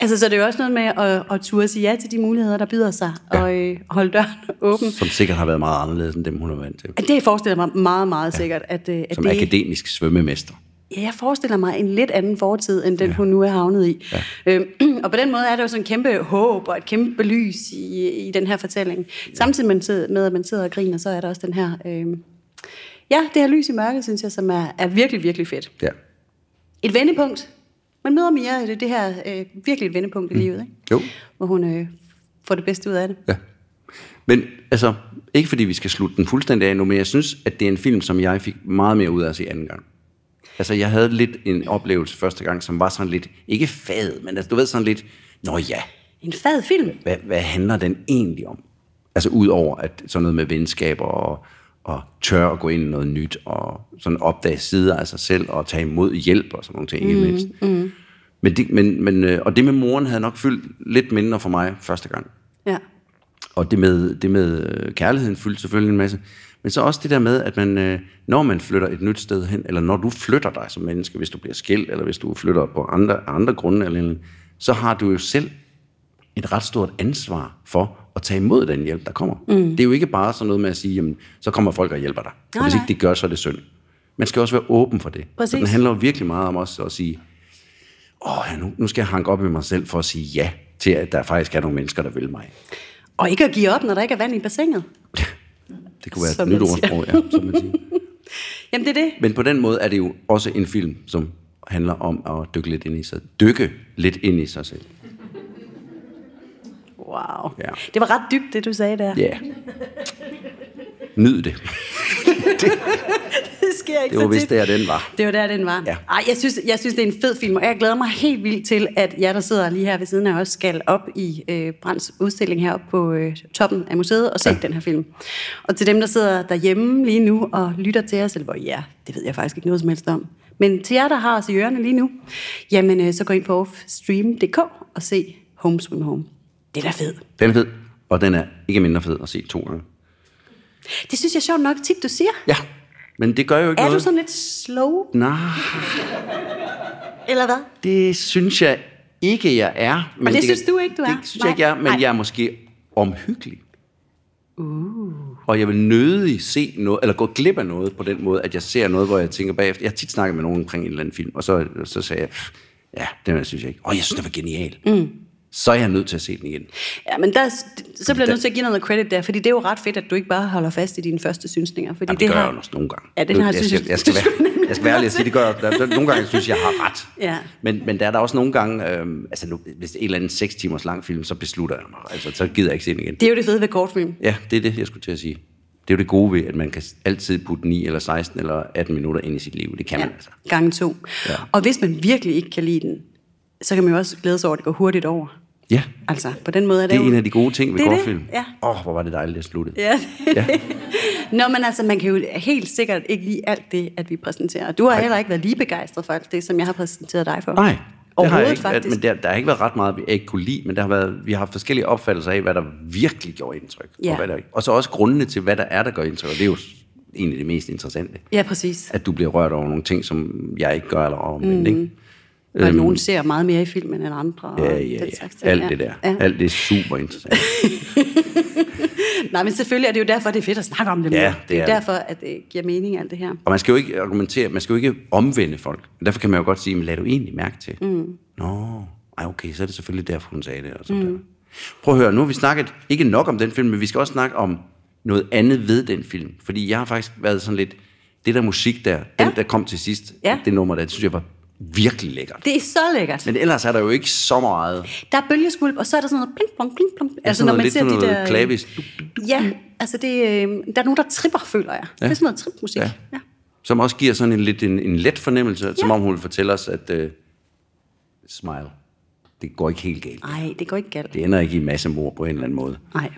C: Altså, så det er jo også noget med at, at turde sige ja til de muligheder, der byder sig, ja. og øh, holde døren åben.
B: Som sikkert har været meget anderledes end dem, hun er vant til.
C: At Det forestiller mig meget, meget ja. sikkert. At, øh, at
B: Som
C: det,
B: akademisk svømmemester.
C: Ja, jeg forestiller mig en lidt anden fortid, end den, ja. hun nu er havnet i. Ja. Øhm, og på den måde er der jo sådan en kæmpe håb og et kæmpe lys i, i den her fortælling. Ja. Samtidig med, tid- med, at man sidder og griner, så er der også den her... Øhm, ja, det her lys i mørket, synes jeg, som er, er virkelig, virkelig fedt.
B: Ja.
C: et vendepunkt. Man møder Mia i det, det her øh, virkelig et vendepunkt i livet, ikke?
B: Mm. Jo.
C: hvor hun øh, får det bedste ud af det.
B: Ja. Men altså, ikke fordi vi skal slutte den fuldstændig af nu, men jeg synes, at det er en film, som jeg fik meget mere ud af at se anden gang. Altså, jeg havde lidt en oplevelse første gang, som var sådan lidt, ikke fad, men altså, du ved sådan lidt, nå ja,
C: En fed film.
B: hvad, hvad handler den egentlig om? Altså, udover at sådan noget med venskaber og, og tør at gå ind i noget nyt, og sådan opdage sider af sig selv, og tage imod hjælp og sådan nogle ting, ikke mindst. Mm. Men det, men, men, øh, og det med moren havde nok fyldt lidt mindre for mig første gang.
C: Ja.
B: Og det med, det med øh, kærligheden fyldte selvfølgelig en masse. Men så også det der med, at man, øh, når man flytter et nyt sted hen, eller når du flytter dig som menneske, hvis du bliver skilt, eller hvis du flytter på andre, andre grunde, eller, eller, så har du jo selv et ret stort ansvar for at tage imod den hjælp, der kommer. Mm. Det er jo ikke bare sådan noget med at sige, jamen, så kommer folk og hjælper dig. Og
C: Nej,
B: hvis
C: nej.
B: ikke de gør, så er det synd. Man skal også være åben for det. Så
C: Præcis.
B: den handler jo virkelig meget om også at sige, åh, ja, nu, nu skal jeg hanke op i mig selv for at sige ja til, at der faktisk er nogle mennesker, der vil mig.
C: Og ikke at give op, når der ikke er vand i bassinet.
B: Det kunne være
C: Som
B: et nyt
C: man siger.
B: ordsprog, ja, som man siger.
C: Jamen det er det.
B: Men på den måde er det jo også en film, som handler om at dykke lidt ind i sig, dykke lidt ind i sig selv.
C: Wow.
B: Ja.
C: Det var ret dybt, det du sagde der.
B: Ja. Yeah. Nyd det.
C: Det sker ikke
B: Det var
C: så
B: vist
C: tit.
B: der, den var.
C: Det var der, den var.
B: Ja.
C: Ja. Ej, jeg synes, jeg synes, det er en fed film, og jeg glæder mig helt vildt til, at jeg, der sidder lige her ved siden af os, skal op i øh, Brands udstilling heroppe på øh, toppen af museet og se ja. den her film. Og til dem, der sidder derhjemme lige nu og lytter til os, eller hvor I er, det ved jeg faktisk ikke noget som helst om. Men til jer, der har os i ørerne lige nu, jamen øh, så gå ind på offstream.dk og se Home Swim Home. Det er da fedt.
B: Den er fed, og den er ikke mindre fed at se to gange.
C: Det synes jeg er sjovt nok tit, du siger.
B: Ja, men det gør jo ikke
C: Er du
B: noget.
C: sådan lidt slow,
B: Nej,
C: eller hvad?
B: det synes jeg ikke, jeg er. Men
C: det synes du ikke, du er?
B: Det synes jeg
C: Nej.
B: ikke, jeg er, men
C: Nej.
B: jeg er måske omhyggelig. Uh. Og jeg vil nødig se noget, eller gå glip af noget på den måde, at jeg ser noget, hvor jeg tænker bagefter. Jeg har tit snakket med nogen omkring en eller anden film, og så, så sagde jeg, "Pff, ja, det synes jeg ikke. Åh, jeg synes, det var genial. Mm. så er jeg nødt til at se den igen.
C: Ja, men der, så bliver jeg nødt til at give noget credit der, fordi det er jo ret fedt, at du ikke bare holder fast i dine første synsninger. Fordi
B: Jamen, det, det gør
C: har,
B: jeg jo også nogle gange.
C: Ja, den
B: Nu-
C: har-
B: jeg,
C: synes
B: skal,
C: jeg-
B: jeg, skal
C: synes jeg
B: være,
C: nemlig
B: jeg skal være ærlig
C: nok
B: at sige, det gør jeg. Der, der, nogle gange synes jeg, jeg har ret.
C: Ja.
B: Men, men der er der også nogle gange, øhm, altså nu, hvis det er en eller anden 6 timers lang film, så beslutter jeg mig. Altså, så gider jeg ikke se den igen.
C: Det er jo det fede ved kortfilm.
B: Ja, det er det, jeg skulle til at sige. Det er jo det gode ved, at man kan altid putte 9 eller 16 eller 18 minutter ind i sit liv. Det kan ja. man altså.
C: Gange to. Ja. Og hvis man virkelig ikke kan lide den, så kan man jo også glæde sig over, at det går hurtigt over.
B: Ja,
C: Altså, på den måde er det,
B: det er
C: jo...
B: en af de gode ting ved
C: Det er det,
B: kortfilm.
C: ja.
B: Åh, oh, hvor var det dejligt, at slutte.
C: Ja.
B: Ja.
C: Nå, men altså, man kan jo helt sikkert ikke lide alt det, at vi præsenterer. Og du har heller ikke været lige begejstret for alt det, som jeg har præsenteret dig for.
B: Nej, det har
C: Overhovedet
B: jeg ikke.
C: faktisk.
B: Men der, der har ikke været ret meget, vi ikke kunne lide, men der har været, vi har haft forskellige opfattelser af, hvad der virkelig gjorde indtryk.
C: Ja.
B: Og, hvad der, ikke- og så også grundene til, hvad der er, der gør indtryk. Og det er jo s- egentlig det mest interessante.
C: Ja, præcis.
B: At du bliver rørt over nogle ting, som jeg ikke gør, eller omvendt, mm. ikke?
C: Og øhm, nogen ser meget mere i filmen end andre. og
B: Ja, ja,
C: den
B: ja.
C: slags ting.
B: Alt det der.
C: Ja.
B: Alt det er super interessant.
C: Nej, men selvfølgelig er det jo derfor, det er fedt at snakke om det
B: Ja,
C: mere.
B: det
C: det er
B: er
C: jo
B: det.
C: derfor, at det giver mening alt det her.
B: Og man skal jo ikke argumentere, man skal jo ikke omvende folk. Derfor kan man jo godt sige, men lad du egentlig mærke til. Mm. Nå, ej okay, så er det selvfølgelig derfor, hun sagde det. Og sådan mm. der. Prøv at høre, nu har vi snakket ikke nok om den film, men vi skal også snakke om noget andet ved den film. Fordi jeg har faktisk været sådan lidt, det der musik der, ja.
C: Ja.
B: den der kom til sidst,
C: Ja.
B: det nummer der, det synes jeg var virkelig lækkert.
C: Det er så lækkert.
B: Men ellers er der jo ikke så meget.
C: Der er bølgeskvulp, og så er der sådan noget pling, plong, pling, plong. Altså,
B: Ja, sådan noget, lidt sådan noget klavis.
C: Ja, altså det, øh, der er nogen, der tripper, føler jeg. Ja. Det er sådan noget tripmusik.
B: Ja.
C: Ja. ja.
B: Som også giver sådan en lidt en, en let fornemmelse, ja. som om hun vil fortælle os, at uh, smile, det går ikke helt galt.
C: Ej, det går ikke galt.
B: Det ender ikke i masse mor på en eller anden måde.
C: Nej.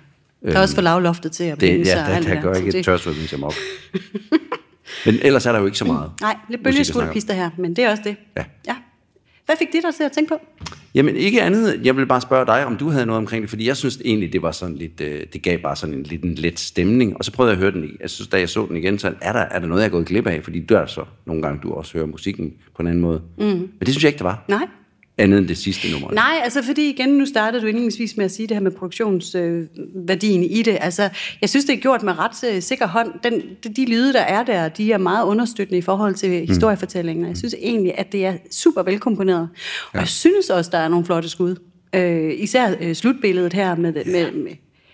C: Der er også for lavloftet til at
B: Det,
C: sig
B: ja,
C: og
B: der,
C: alt
B: der gør
C: så
B: ikke et
C: det-
B: tørsvøbning som op. Men ellers er der jo ikke så meget.
C: Nej, lidt
B: musik at snakke om.
C: bølgeskvulpister her, men det er også det.
B: Ja.
C: ja. Hvad fik det dig til at tænke på?
B: Jamen ikke andet, jeg vil bare spørge dig, om du havde noget omkring det, fordi jeg synes egentlig, det var sådan lidt, øh, det gav bare sådan en lidt en let stemning, og så prøvede jeg at høre den, i- jeg synes, da jeg så den igen, så er der, er der noget, jeg er gået glip af, fordi der er så nogle gange, du også hører musikken på en anden måde. Mm. Men det synes jeg ikke, der var.
C: Nej.
B: Andet end det sidste nummer.
C: Nej, altså fordi igen, nu startede du indledningsvis med at sige det her med produktionsværdien i det. Altså, jeg synes, det er gjort med ret øh, sikker hånd. Den, de, de lyde, der er der, de er meget understøttende i forhold
B: Mm.
C: til historiefortællingen. Og jeg synes egentlig, at det er super velkomponeret. Og jeg synes også, der er nogle flotte skud. Øh, især øh, slutbilledet her med... med, med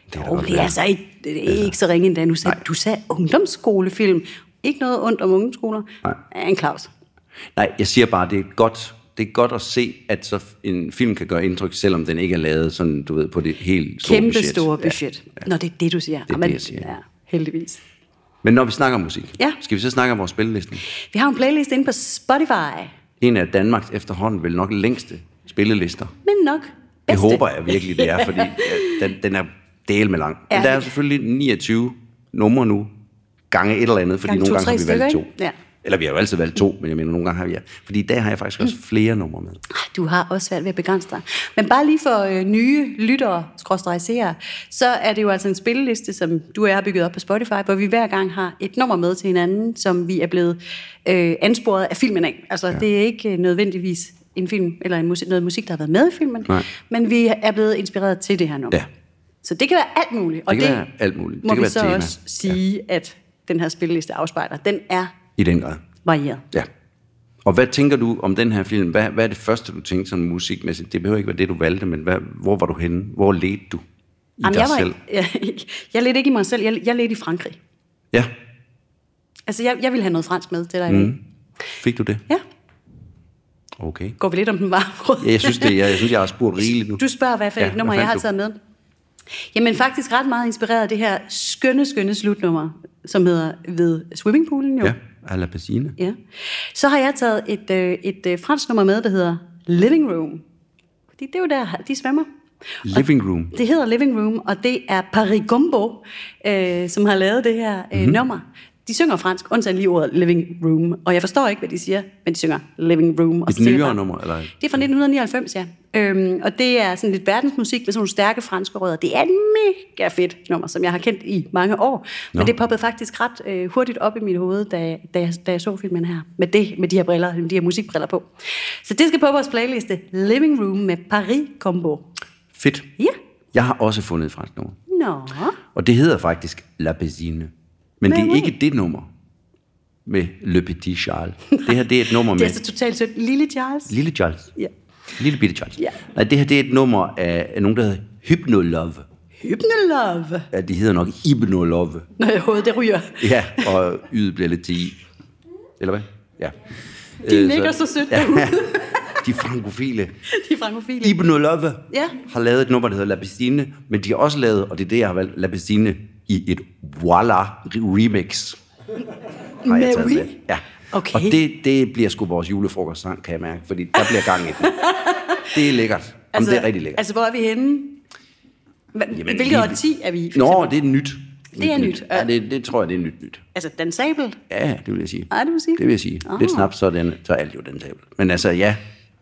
C: det
B: da
C: er,
B: godt
C: det
B: være.
C: er altså ikke, det er ikke så ringe endda. Nu sagde, du sagde ungdomsskolefilm. Ikke noget ondt om ungdomsskoler.
B: Nej.
C: Ja, En Claus.
B: Nej, jeg siger bare, det er godt, det er godt at se, at så en film kan gøre indtryk, selvom den ikke er lavet sådan, du ved, på det helt store
C: Kæmpe
B: budget.
C: store budget. Ja, ja. Nå, det er det, du siger.
B: er
C: Jamen,
B: det, jeg siger.
C: Ja, heldigvis.
B: Men når vi snakker om musik,
C: Ja.
B: skal vi så snakke om vores spilleliste?
C: Vi har en playlist inde på Spotify,
B: En af Danmarks efterhånden vel nok længste spillelister. Bedste.
C: men nok
B: Det
C: bedste.
B: håber jeg virkelig, det er, fordi ja, den, den er del med lang.
C: Ja.
B: Men der er selvfølgelig 29 numre nu, gange et eller andet, fordi
C: Gange
B: nogle
C: to,
B: gange har
C: tre
B: vi valgt
C: stykker,
B: to.
C: ikke? Ja.
B: Eller vi har jo altid valgt to, men jeg mener, nogle gange har vi... Ja. Fordi i dag har jeg
C: Mm.
B: faktisk også flere numre med.
C: Ej, Du har også svært ved at begrænse dig. Men bare lige for øh, nye lyttere, skråstrej seere, så er det jo altså en spilleliste, som du og jeg har bygget op på Spotify, hvor vi hver gang har et nummer med til hinanden, som vi er blevet øh, ansporet af filmen af. Altså, ja. det er ikke øh, nødvendigvis en film eller en musik, noget musik, der har været med i filmen,
B: Nej.
C: men vi er blevet inspireret til det her nummer.
B: Ja.
C: Så det kan være alt muligt. Og
B: Det kan være alt muligt. Det
C: må
B: kan
C: vi
B: være et
C: så
B: tema.
C: også sige, ja. at den her spilleliste afspejler. Den er
B: I den grad.
C: varieret.
B: Ja. Og hvad tænker du om den her film? Hvad, hvad er det første, du tænkte sådan musikmæssigt? Det behøver ikke være det, du valgte, men hvad, hvor var du henne? Hvor ledte du i dig
C: jeg,
B: selv?
C: Ikke, jeg, jeg ledte ikke i mig selv, jeg, jeg ledte i Frankrig.
B: Ja,
C: Altså, jeg, jeg ville have noget fransk med til dig. Mm.
B: fik du det?
C: Ja,
B: Okay.
C: går vi lidt om den varme grød?
B: Ja, jeg synes, det, jeg, jeg, synes, jeg har spurgt rigeligt nu.
C: Du spørger, hvad for
B: Ja,
C: ja, et nummer
B: hvad
C: jeg har
B: fandt
C: taget med. Jamen, faktisk ret meget inspireret af det her skønne, skønne slutnummer, som hedder Ved Swimmingpoolen jo.
B: Ja, à la piscine.
C: Ja. Så har jeg taget et, øh, et øh, fransk nummer med, der hedder Living Room. Fordi det er jo der, de svømmer.
B: Living room.
C: Det hedder Living Room, og det er Paris Gumbo, øh, som har lavet det her øh,
B: Mhm.
C: mm-hmm. nummer. De synger fransk, undtagen lige ordet Living Room. Og jeg forstår ikke, hvad de siger, men de synger Living Room. Og
B: Et
C: så tænker jeg
B: nyere
C: bare-
B: nummer, eller?
C: Det er fra 1999, ja. Øhm, og det er sådan lidt verdensmusik med sådan nogle stærke franske rødder. Det er et mega fedt nummer, som jeg har kendt i mange år. Men
B: Nå.
C: det poppede faktisk ret øh, hurtigt op i mit hoved, da, da, jeg, da jeg så filmen her. Med, det, med de her briller, med de her musikbriller på. Så det skal på vores playliste. Living Room med Paris Combo.
B: Fedt.
C: Ja.
B: Jeg har også fundet et fransk nummer.
C: Nå.
B: Og det hedder faktisk La Piscine. Men det er
C: Nej,
B: ikke det nummer med Le Petit Charles. Det her det er et nummer
C: Det er
B: med
C: altså totalt sødt. Lille Charles.
B: Lille Charles.
C: Ja.
B: Lille bitte charge.
C: Ja.
B: Nej, det her det er et nummer af, af nogen, der hedder Hypnolove.
C: Hypnolove.
B: Ja, de hedder nok Ibnolove.
C: Når jeg hovedet, det ryger.
B: Ja, og ydet bliver lidt til i. Eller hvad? Ja. Øh,
C: De ligger så sødt derude.
B: De frankofile.
C: De er frankofile.
B: Ibnolove
C: Ja.
B: har lavet et nummer, der hedder Lapistine, men de har også lavet, og det er det, jeg har valgt, Lapistine i et voila remix. Har jeg
C: Med
B: taget
C: Wii?
B: med. Ja.
C: Okay.
B: Og det, det bliver sgu vores julefrokostsang, kan jeg mærke, fordi der bliver gang i den. Det er lækkert. Altså, Jamen, det er rigtig lækkert.
C: Altså, hvor er vi henne? Hva-
B: Jamen,
C: Hvilket
B: lige-
C: årti er vi i? for
B: Nå,
C: eksempel?
B: det er nyt.
C: Det er nyt.
B: Ja, det, det tror jeg, det er nyt nyt.
C: Altså, Dan Sabel?
B: Ja, det vil jeg sige.
C: Ej, det vil du sige.
B: Det vil jeg sige.
C: Ah.
B: Lidt snaps, så er, den, så er alt jo dansabel. Men altså, ja,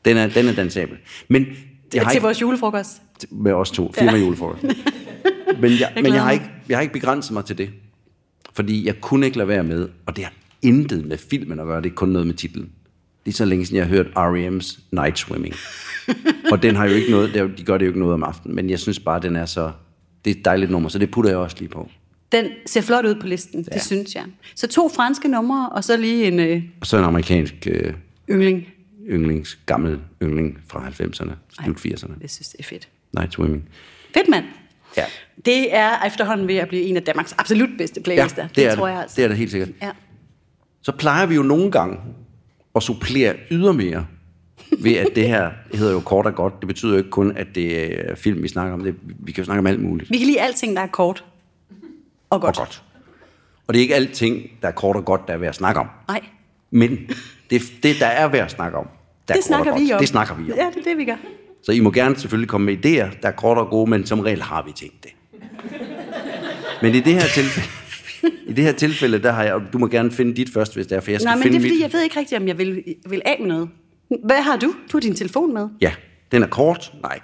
B: den er, den er dansabel. Men jeg har
C: Til
B: ikke,
C: vores julefrokost.
B: med os to, firma julefrokost. Men, jeg, men jeg,
C: glæder
B: har
C: mig.
B: ikke, jeg har ikke begrænset mig til det. Fordi jeg kunne ikke lade være med, og det har intet med filmen at gøre, det er kun noget med titlen. Det er så længe siden, jeg har hørt R.E.M.'s Night Swimming. og den har jo ikke noget, det er jo- de gør det jo ikke noget om aftenen, men jeg synes bare, den er så, det er et dejligt nummer, så det putter jeg også lige på.
C: Den ser flot ud på listen, ja. det synes jeg. Så to franske numre, og så lige en øh,
B: Og så en amerikansk øh,
C: yngling.
B: yndlings, gammel yndling fra 90'erne, slut 80'erne.
C: Jeg synes, det er fedt.
B: Night Swimming.
C: Fedt, mand.
B: Ja.
C: Det er efterhånden ved at blive en af Danmarks absolut bedste playlister.
B: det,
C: det, det
B: er
C: tror
B: det.
C: jeg altså.
B: Det er det helt sikkert.
C: Ja.
B: Så plejer vi jo nogle gange at supplere ydermere ved, at det her det hedder jo kort og godt. Det betyder jo ikke kun, at det er film, vi snakker om. Det, vi kan jo snakke om alt muligt.
C: Vi kan lide alting, der er kort. Og godt.
B: Og godt. Og det er ikke alting, der er kort og godt, der er værd at snakke om.
C: Nej,
B: Men det, det der er værd at snakke om, der er kort og
C: det snakker
B: godt.
C: vi om.
B: Det snakker vi om.
C: Ja, det er det, vi gør.
B: Så I må gerne selvfølgelig komme med idéer, der er korte og gode, men som regel har vi tænkt det. Men i det her tilfælde, i det her tilfælde der har jeg, og du må gerne finde dit først, hvis det er, for jeg skal
C: Nej, men
B: finde
C: det er fordi,
B: mit.
C: jeg ved ikke rigtigt, om jeg vil, vil af med noget. Hvad har du? Du har din telefon med.
B: Ja, den er kort. Nej.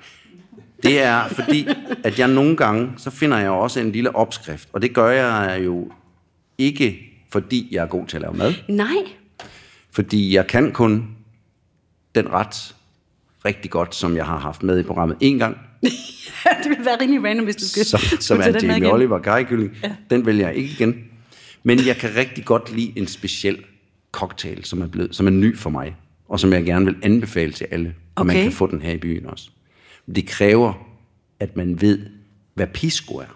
B: Det er fordi, at jeg nogle gange, så finder jeg også en lille opskrift, og det gør jeg jo ikke, fordi jeg er god til at lave mad,
C: Nej.
B: fordi jeg kan kun den ret rigtig godt, som jeg har haft med i programmet en gang,
C: det ville være rimelig random, hvis du skulle,
B: som,
C: skulle
B: som
C: tage
B: er
C: den med
B: Jamie
C: igen.
B: Oliver karrikylling. Ja. Den vælger jeg ikke igen. Men jeg kan rigtig godt lide en speciel cocktail, som er, blevet, som er ny for mig, og som jeg gerne vil anbefale til alle, og man
C: Okay.
B: kan få den her i byen også. Men det kræver, at man ved, hvad pisco er.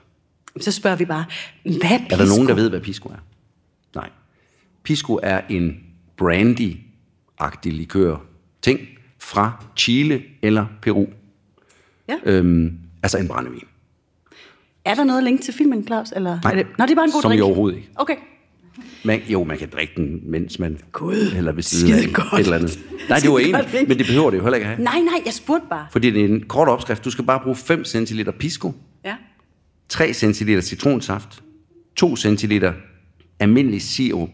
C: Så spørger vi bare, hvad er,
B: Er der nogen, der ved, hvad pisco er? Nej. Pisco er en brandy-agtig likør-ting fra Chile eller Peru.
C: Ja.
B: Øhm, altså en brændevin.
C: Er der noget link til filmen, Claus? Eller
B: Nej.
C: er det... Nå, det er bare en god
B: Som
C: drink.
B: i overhovedet ikke.
C: Okay.
B: Man, jo, man kan drikke den, mens man...
C: Gud,
B: Eller ved siden af
C: skide godt.
B: et eller andet. Nej, det var
C: Skide
B: enig,
C: godt, ikke?
B: men det behøver det jo heller ikke at have.
C: Nej, nej, jeg spurgte bare.
B: Fordi det er en kort opskrift. Du skal bare bruge 5 cl pisco,
C: Ja.
B: 3 cl citronsaft, 2 cl almindelig sirup,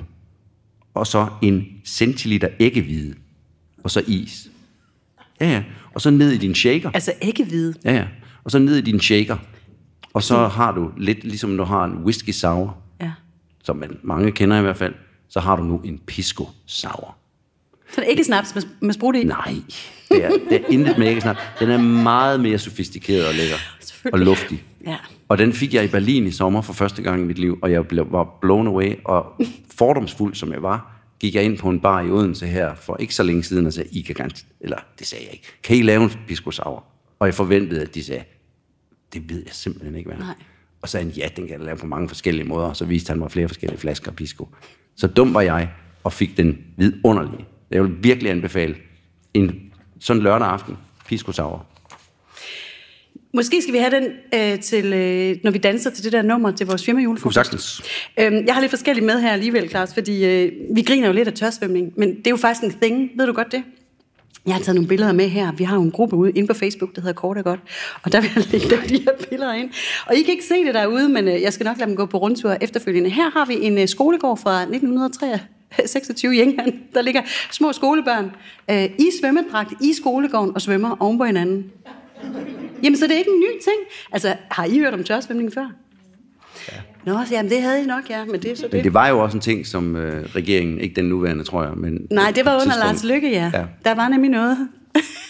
B: og så en centiliter æggehvide, og så is. Ja, ja. Og så ned i din shaker.
C: Altså æggehvide.
B: Ja, ja. Og så ned i din shaker. Og så har du lidt, ligesom du har en whisky sour,
C: Ja.
B: som man, mange kender i hvert fald, så har du nu en pisco sour.
C: Så det er ikke snaps med, med sprut i?
B: Nej, det er, det er intet med æggesnak. Den er meget mere sofistikeret og lækker. Og
C: Selvfølgelig.
B: luftig.
C: Ja.
B: Og den fik jeg i Berlin i sommer for første gang i mit liv, og jeg blev, var blown away, og fordomsfuld som jeg var, gik jeg ind på en bar i Odense her for ikke så længe siden og sagde, I kan ganske, eller det sagde jeg ikke, kan I lave en pisco sour? Og jeg forventede, at de sagde, det ved jeg simpelthen ikke, hvad er."
C: Nej.
B: Og så sagde han, ja, den kan jeg lave på mange forskellige måder, og så viste han mig flere forskellige flasker af pisco. Så dum var jeg, og fik den vidunderlige. Jeg vil virkelig anbefale en sådan lørdag aften, pisco sour.
C: Måske skal vi have den øh, til, øh, når vi danser til det der nummer til vores firma
B: Kunne sagtens.
C: Øhm, jeg har lidt forskelligt med her alligevel, Claus, fordi øh, vi griner jo lidt af tørsvømning, men det er jo faktisk en thing, ved du godt det? Jeg har taget nogle billeder med her. Vi har jo en gruppe ude inde på Facebook, der hedder Kort og Godt, og der vil jeg lægge de her billeder ind. Og I kan ikke se det derude, men øh, jeg skal nok lade dem gå på rundtur efterfølgende. Her har vi en øh, skolegård fra 1926 i England. Der ligger små skolebørn øh, i svømmedragt i skolegården og svømmer oven på hinanden. Jamen, så det er ikke en ny ting. Altså, har I hørt om tørsvømning før? Nå, så jamen, det havde I nok, ja, men det er så
B: Men
C: det.
B: det var jo også en ting, som øh, regeringen, ikke den nuværende, tror jeg, men...
C: Nej, det var under
B: tidspunkt
C: Lars Lykke, ja.
B: Ja.
C: ja. Der var nemlig noget.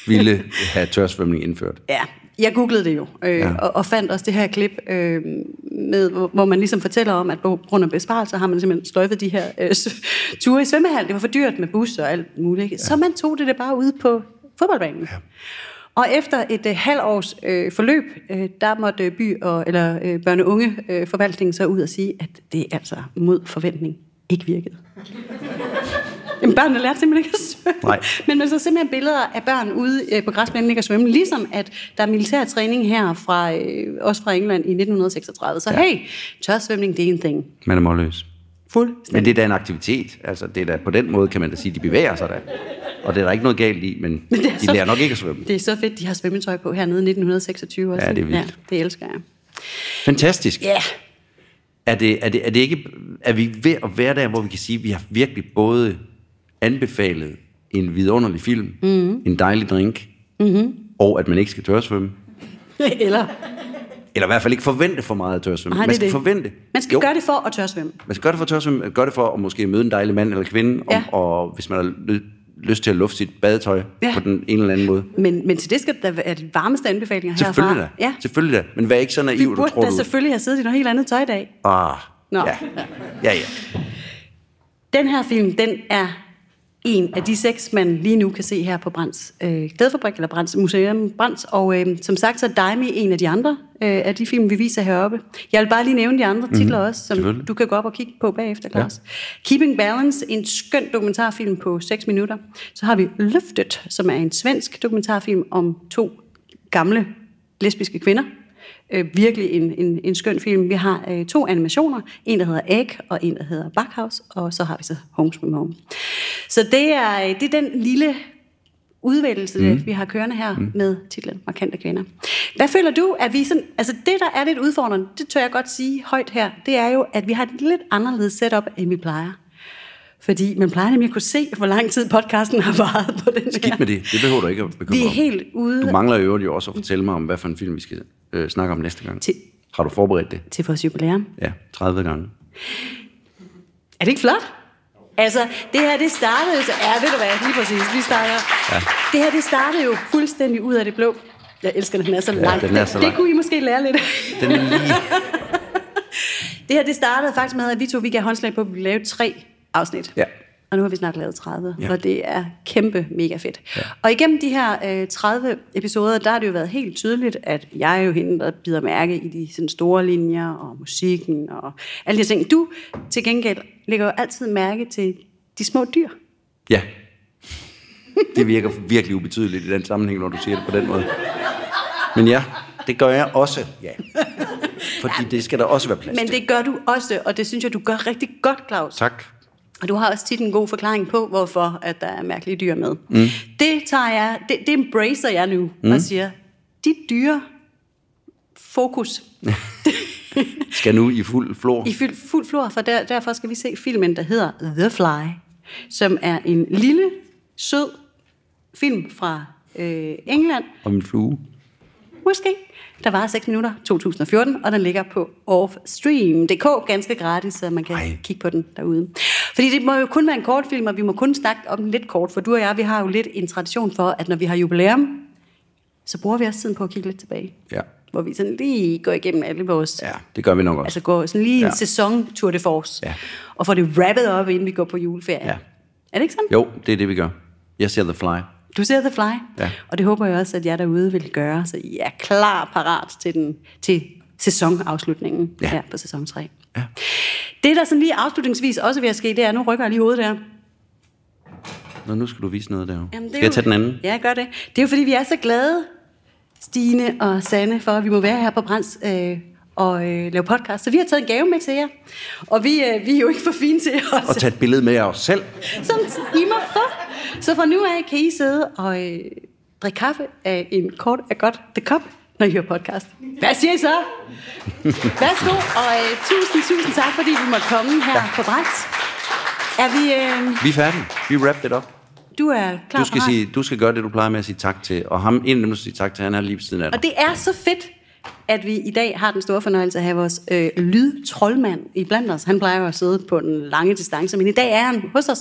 B: ville have tørsvømning indført.
C: Ja, jeg googlede det jo, øh,
B: Ja.
C: ja. og, og fandt også det her klip, øh, med, hvor, hvor man ligesom fortæller om, at på grund af besparelser har man simpelthen sløjfet de her øh, s- ture i svømmehal. Det var for dyrt med busser og alt muligt. ikke? Så man tog det der bare ud på fodboldbanen. Ja. Og efter et øh, halvårs øh, forløb, øh, der måtte øh, by- og, eller øh, børne- unge øh, forvaltningen så ud og sige, at det altså mod forventning ikke virkede. Jamen, børnene lærte simpelthen ikke at svømme.
B: Nej.
C: Men man så simpelthen billeder af børn ude øh, på græsplænen ikke at svømme, ligesom at der er militær træning her, fra, øh, også fra England i 1936. Så ja. hey, tørsvømning, det er en ting.
B: Man er målløs.
C: Fuldstændig.
B: Men det er da en aktivitet. Altså, det er da, på den måde kan man da sige, at de bevæger sig da. Og det er der ikke noget galt i, men, men
C: det er
B: de
C: så-
B: lærer nok ikke at svømme.
C: Det er så fedt, de har svømmetøj på hernede i 1926 også.
B: Ja, det er vildt.
C: Ja, det elsker jeg.
B: Fantastisk.
C: Ja,
B: Er, det, er, det, er, det ikke, er vi ved at være der, hvor vi kan sige, at vi har virkelig både anbefalet en vidunderlig film,
C: Mhm.
B: mm-hmm. en dejlig drink, mm-hmm. og at man ikke skal tørsvømme?
C: yeah. eller...
B: Eller i hvert fald ikke forvente for meget af tørsvømme.
C: Nej, det
B: man
C: er
B: skal
C: det.
B: forvente.
C: Man skal jo. gøre det for at tørsvømme.
B: Man skal gøre det for at tørsvømme, gøre det for at måske møde en dejlig mand eller kvinde,
C: Ja.
B: og, og hvis man har ly- lyst til at lufte sit badetøj
C: Ja.
B: på den ene eller anden måde.
C: Men, men til det skal der være de varmeste anbefalinger
B: Selvfølgelig
C: herfra.
B: da.
C: Ja.
B: Selvfølgelig da. Men vær ikke så
C: Vi
B: naiv, du
C: burde
B: tror
C: da
B: du...
C: selvfølgelig have siddet i noget helt andet tøj i dag.
B: Ah,
C: Nå.
B: ja. Ja, ja.
C: Den her film, den er en af de seks, man lige nu kan se her på Brands øh, Glædefabrik, eller Brands Museum Brands. Og øh, som sagt, så er Daimi en af de andre øh, af de film, vi viser heroppe. Jeg vil bare lige nævne de andre titler mm, også, som
B: selvfølgelig.
C: du kan gå op og kigge på bagefter, Claus. Ja. Keeping Balance, en skøn dokumentarfilm på 6 minutter. Så har vi Løftet, som er en svensk dokumentarfilm om to gamle lesbiske kvinder. Øh, virkelig en, en, en skøn film. Vi har øh, to animationer. En, der hedder Egg, og en, der hedder Backhouse. Og så har vi så Home Sweet Home. Så det er, øh, det er den lille udvælgelse,
B: Mhm.
C: mm. vi har kørende her mm. med titlen Markante Kvinder. Hvad føler du, at vi sådan, altså det, der er lidt udfordrende, det tør jeg godt sige højt her, det er jo, at vi har et lidt anderledes setup, end vi plejer. Fordi man plejer nemlig at kunne se, hvor lang tid podcasten har varet på den her.
B: Skidt med det. Det behøver du ikke at bekymre
C: Vi er
B: dig om.
C: helt ude
B: Du mangler i øvrigt jo også at fortælle mig om, hvad for en film vi skal øh, snakke om næste gang.
C: Til-
B: Har du forberedt det?
C: til vores jubilæum.
B: Ja, 30 gange.
C: Er det ikke flot? Altså, det her, det startede jo... så- Ja, ved du hvad, lige præcis. Vi starter... Ja. Det her, det startede jo fuldstændig ud af det blå. Jeg elsker, at den er så lang.
B: den er så
C: det, det
B: lang.
C: kunne I måske lære lidt af.
B: Den er lige...
C: Det her, det startede faktisk med, at vi to, vi gav håndslag på, at vi ville lave tre afsnit.
B: Ja.
C: Og nu har vi snart lavet 30, ja.
B: Ja.
C: og det er kæmpe mega fedt. Ja. Og igennem de her øh, 30 episoder, der har det jo været helt tydeligt, at jeg er jo hende, der bider mærke i de sådan, store linjer og musikken og alle de her ting. Du til gengæld lægger jo altid mærke til de små dyr.
B: Ja. Det virker virkelig ubetydeligt i den sammenhæng, når du siger det på den måde. Men ja, det gør jeg også. Ja. Fordi det skal der også være plads
C: Men
B: til.
C: det gør du også, og det synes jeg, du gør rigtig godt, Claus.
B: Tak.
C: Og du har også tit en god forklaring på, hvorfor at der er mærkelige dyr med. Mm. Det tager jeg, det, det embracer jeg nu mm. og siger, dit dyre fokus
B: Skal nu i fuld flor.
C: i fuld, fuld flor, for der, derfor skal vi se filmen, der hedder The Fly, som er en lille, sød film fra øh, England,
B: Om en flue.
C: måske, der var 6 minutter 2014, og den ligger på offstream.dk, ganske gratis, så man kan Ej.
B: Ej.
C: kigge på den derude. Fordi det må jo kun være en kortfilm, og vi må kun snakke om den lidt kort, for du og jeg, vi har jo lidt en tradition for, at når vi har jubilæum, så bruger vi også tiden på at kigge lidt tilbage.
B: Ja.
C: Hvor vi sådan lige går igennem alle vores...
B: ja, det gør vi nok også.
C: Altså går sådan lige en ja.
B: Ja.
C: sæson Tour de Force,
B: Ja.
C: og får det rappet op, inden vi går på juleferie.
B: Ja.
C: Er det ikke sådan?
B: Jo, det er det, vi gør. Jeg ser The Fly.
C: Du ser The Fly,
B: Ja.
C: og det håber jeg også, at jer derude vil gøre, så I er klar parat til, den, til sæsonafslutningen ja.
B: Ja.
C: her på sæson 3.
B: Ja.
C: Det, der sådan lige afslutningsvis også vil at ske, det er, nu rykker jeg lige hovedet der.
B: Nå, nu skal du vise noget derovre.
C: Jamen, det er
B: skal jeg tage den anden?
C: Ja, gør det. Det er jo, fordi vi er så glade, Stine og Sanne, for at vi må være her på Brands øh, og øh, lave podcast. Så vi har taget en gave med til jer, og vi, øh, vi er jo ikke for fine til os.
B: Og tage et billede med af os selv.
C: som I må få. Så fra nu af kan I sidde og øh, drikke kaffe af en kort af godt The Cup, når I hører podcast. Hvad siger I så? Værsgo, og øh, tusind, tusind tak, fordi vi måtte komme her ja. på Brændt. Er vi... Øh,
B: Vi er færdige. Vi wrapped it up.
C: du er klar
B: Du skal,
C: parat?
B: sige, du skal gøre det, du plejer med at sige tak til. Og ham, en af dem, du siger tak til, han er lige ved siden af dig.
C: Og det er så fedt, at vi i dag har den store fornøjelse at have vores øh, lydtrollmand i blandt os. Han plejer jo at sidde på den lange distance, men i dag er han hos os.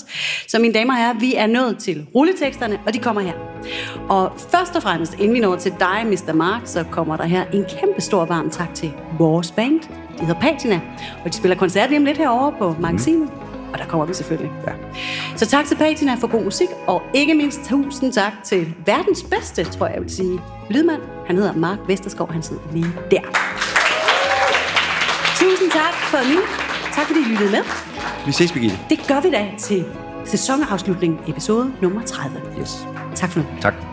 C: Så mine damer og herrer, vi er nået til rulleteksterne, og de kommer her. Og først og fremmest, inden vi når til dig, Mr. Mark, så kommer der her en kæmpe stor varm tak til vores band. De hedder Patina, og de spiller koncert lige om lidt herovre på magasinet. Og der kommer vi selvfølgelig. Ja. Så tak til Patina for god musik, og ikke mindst tusind tak til verdens bedste, tror jeg, jeg vil sige, lydmand. Han hedder Mark Vesterskov, han sidder lige der. Tusind tak for nu. Tak fordi I lyttede med.
B: Vi ses, Birgitte.
C: Det gør vi da til sæsonafslutning, episode nummer 30.
B: Yes.
C: Tak for nu.
B: Tak.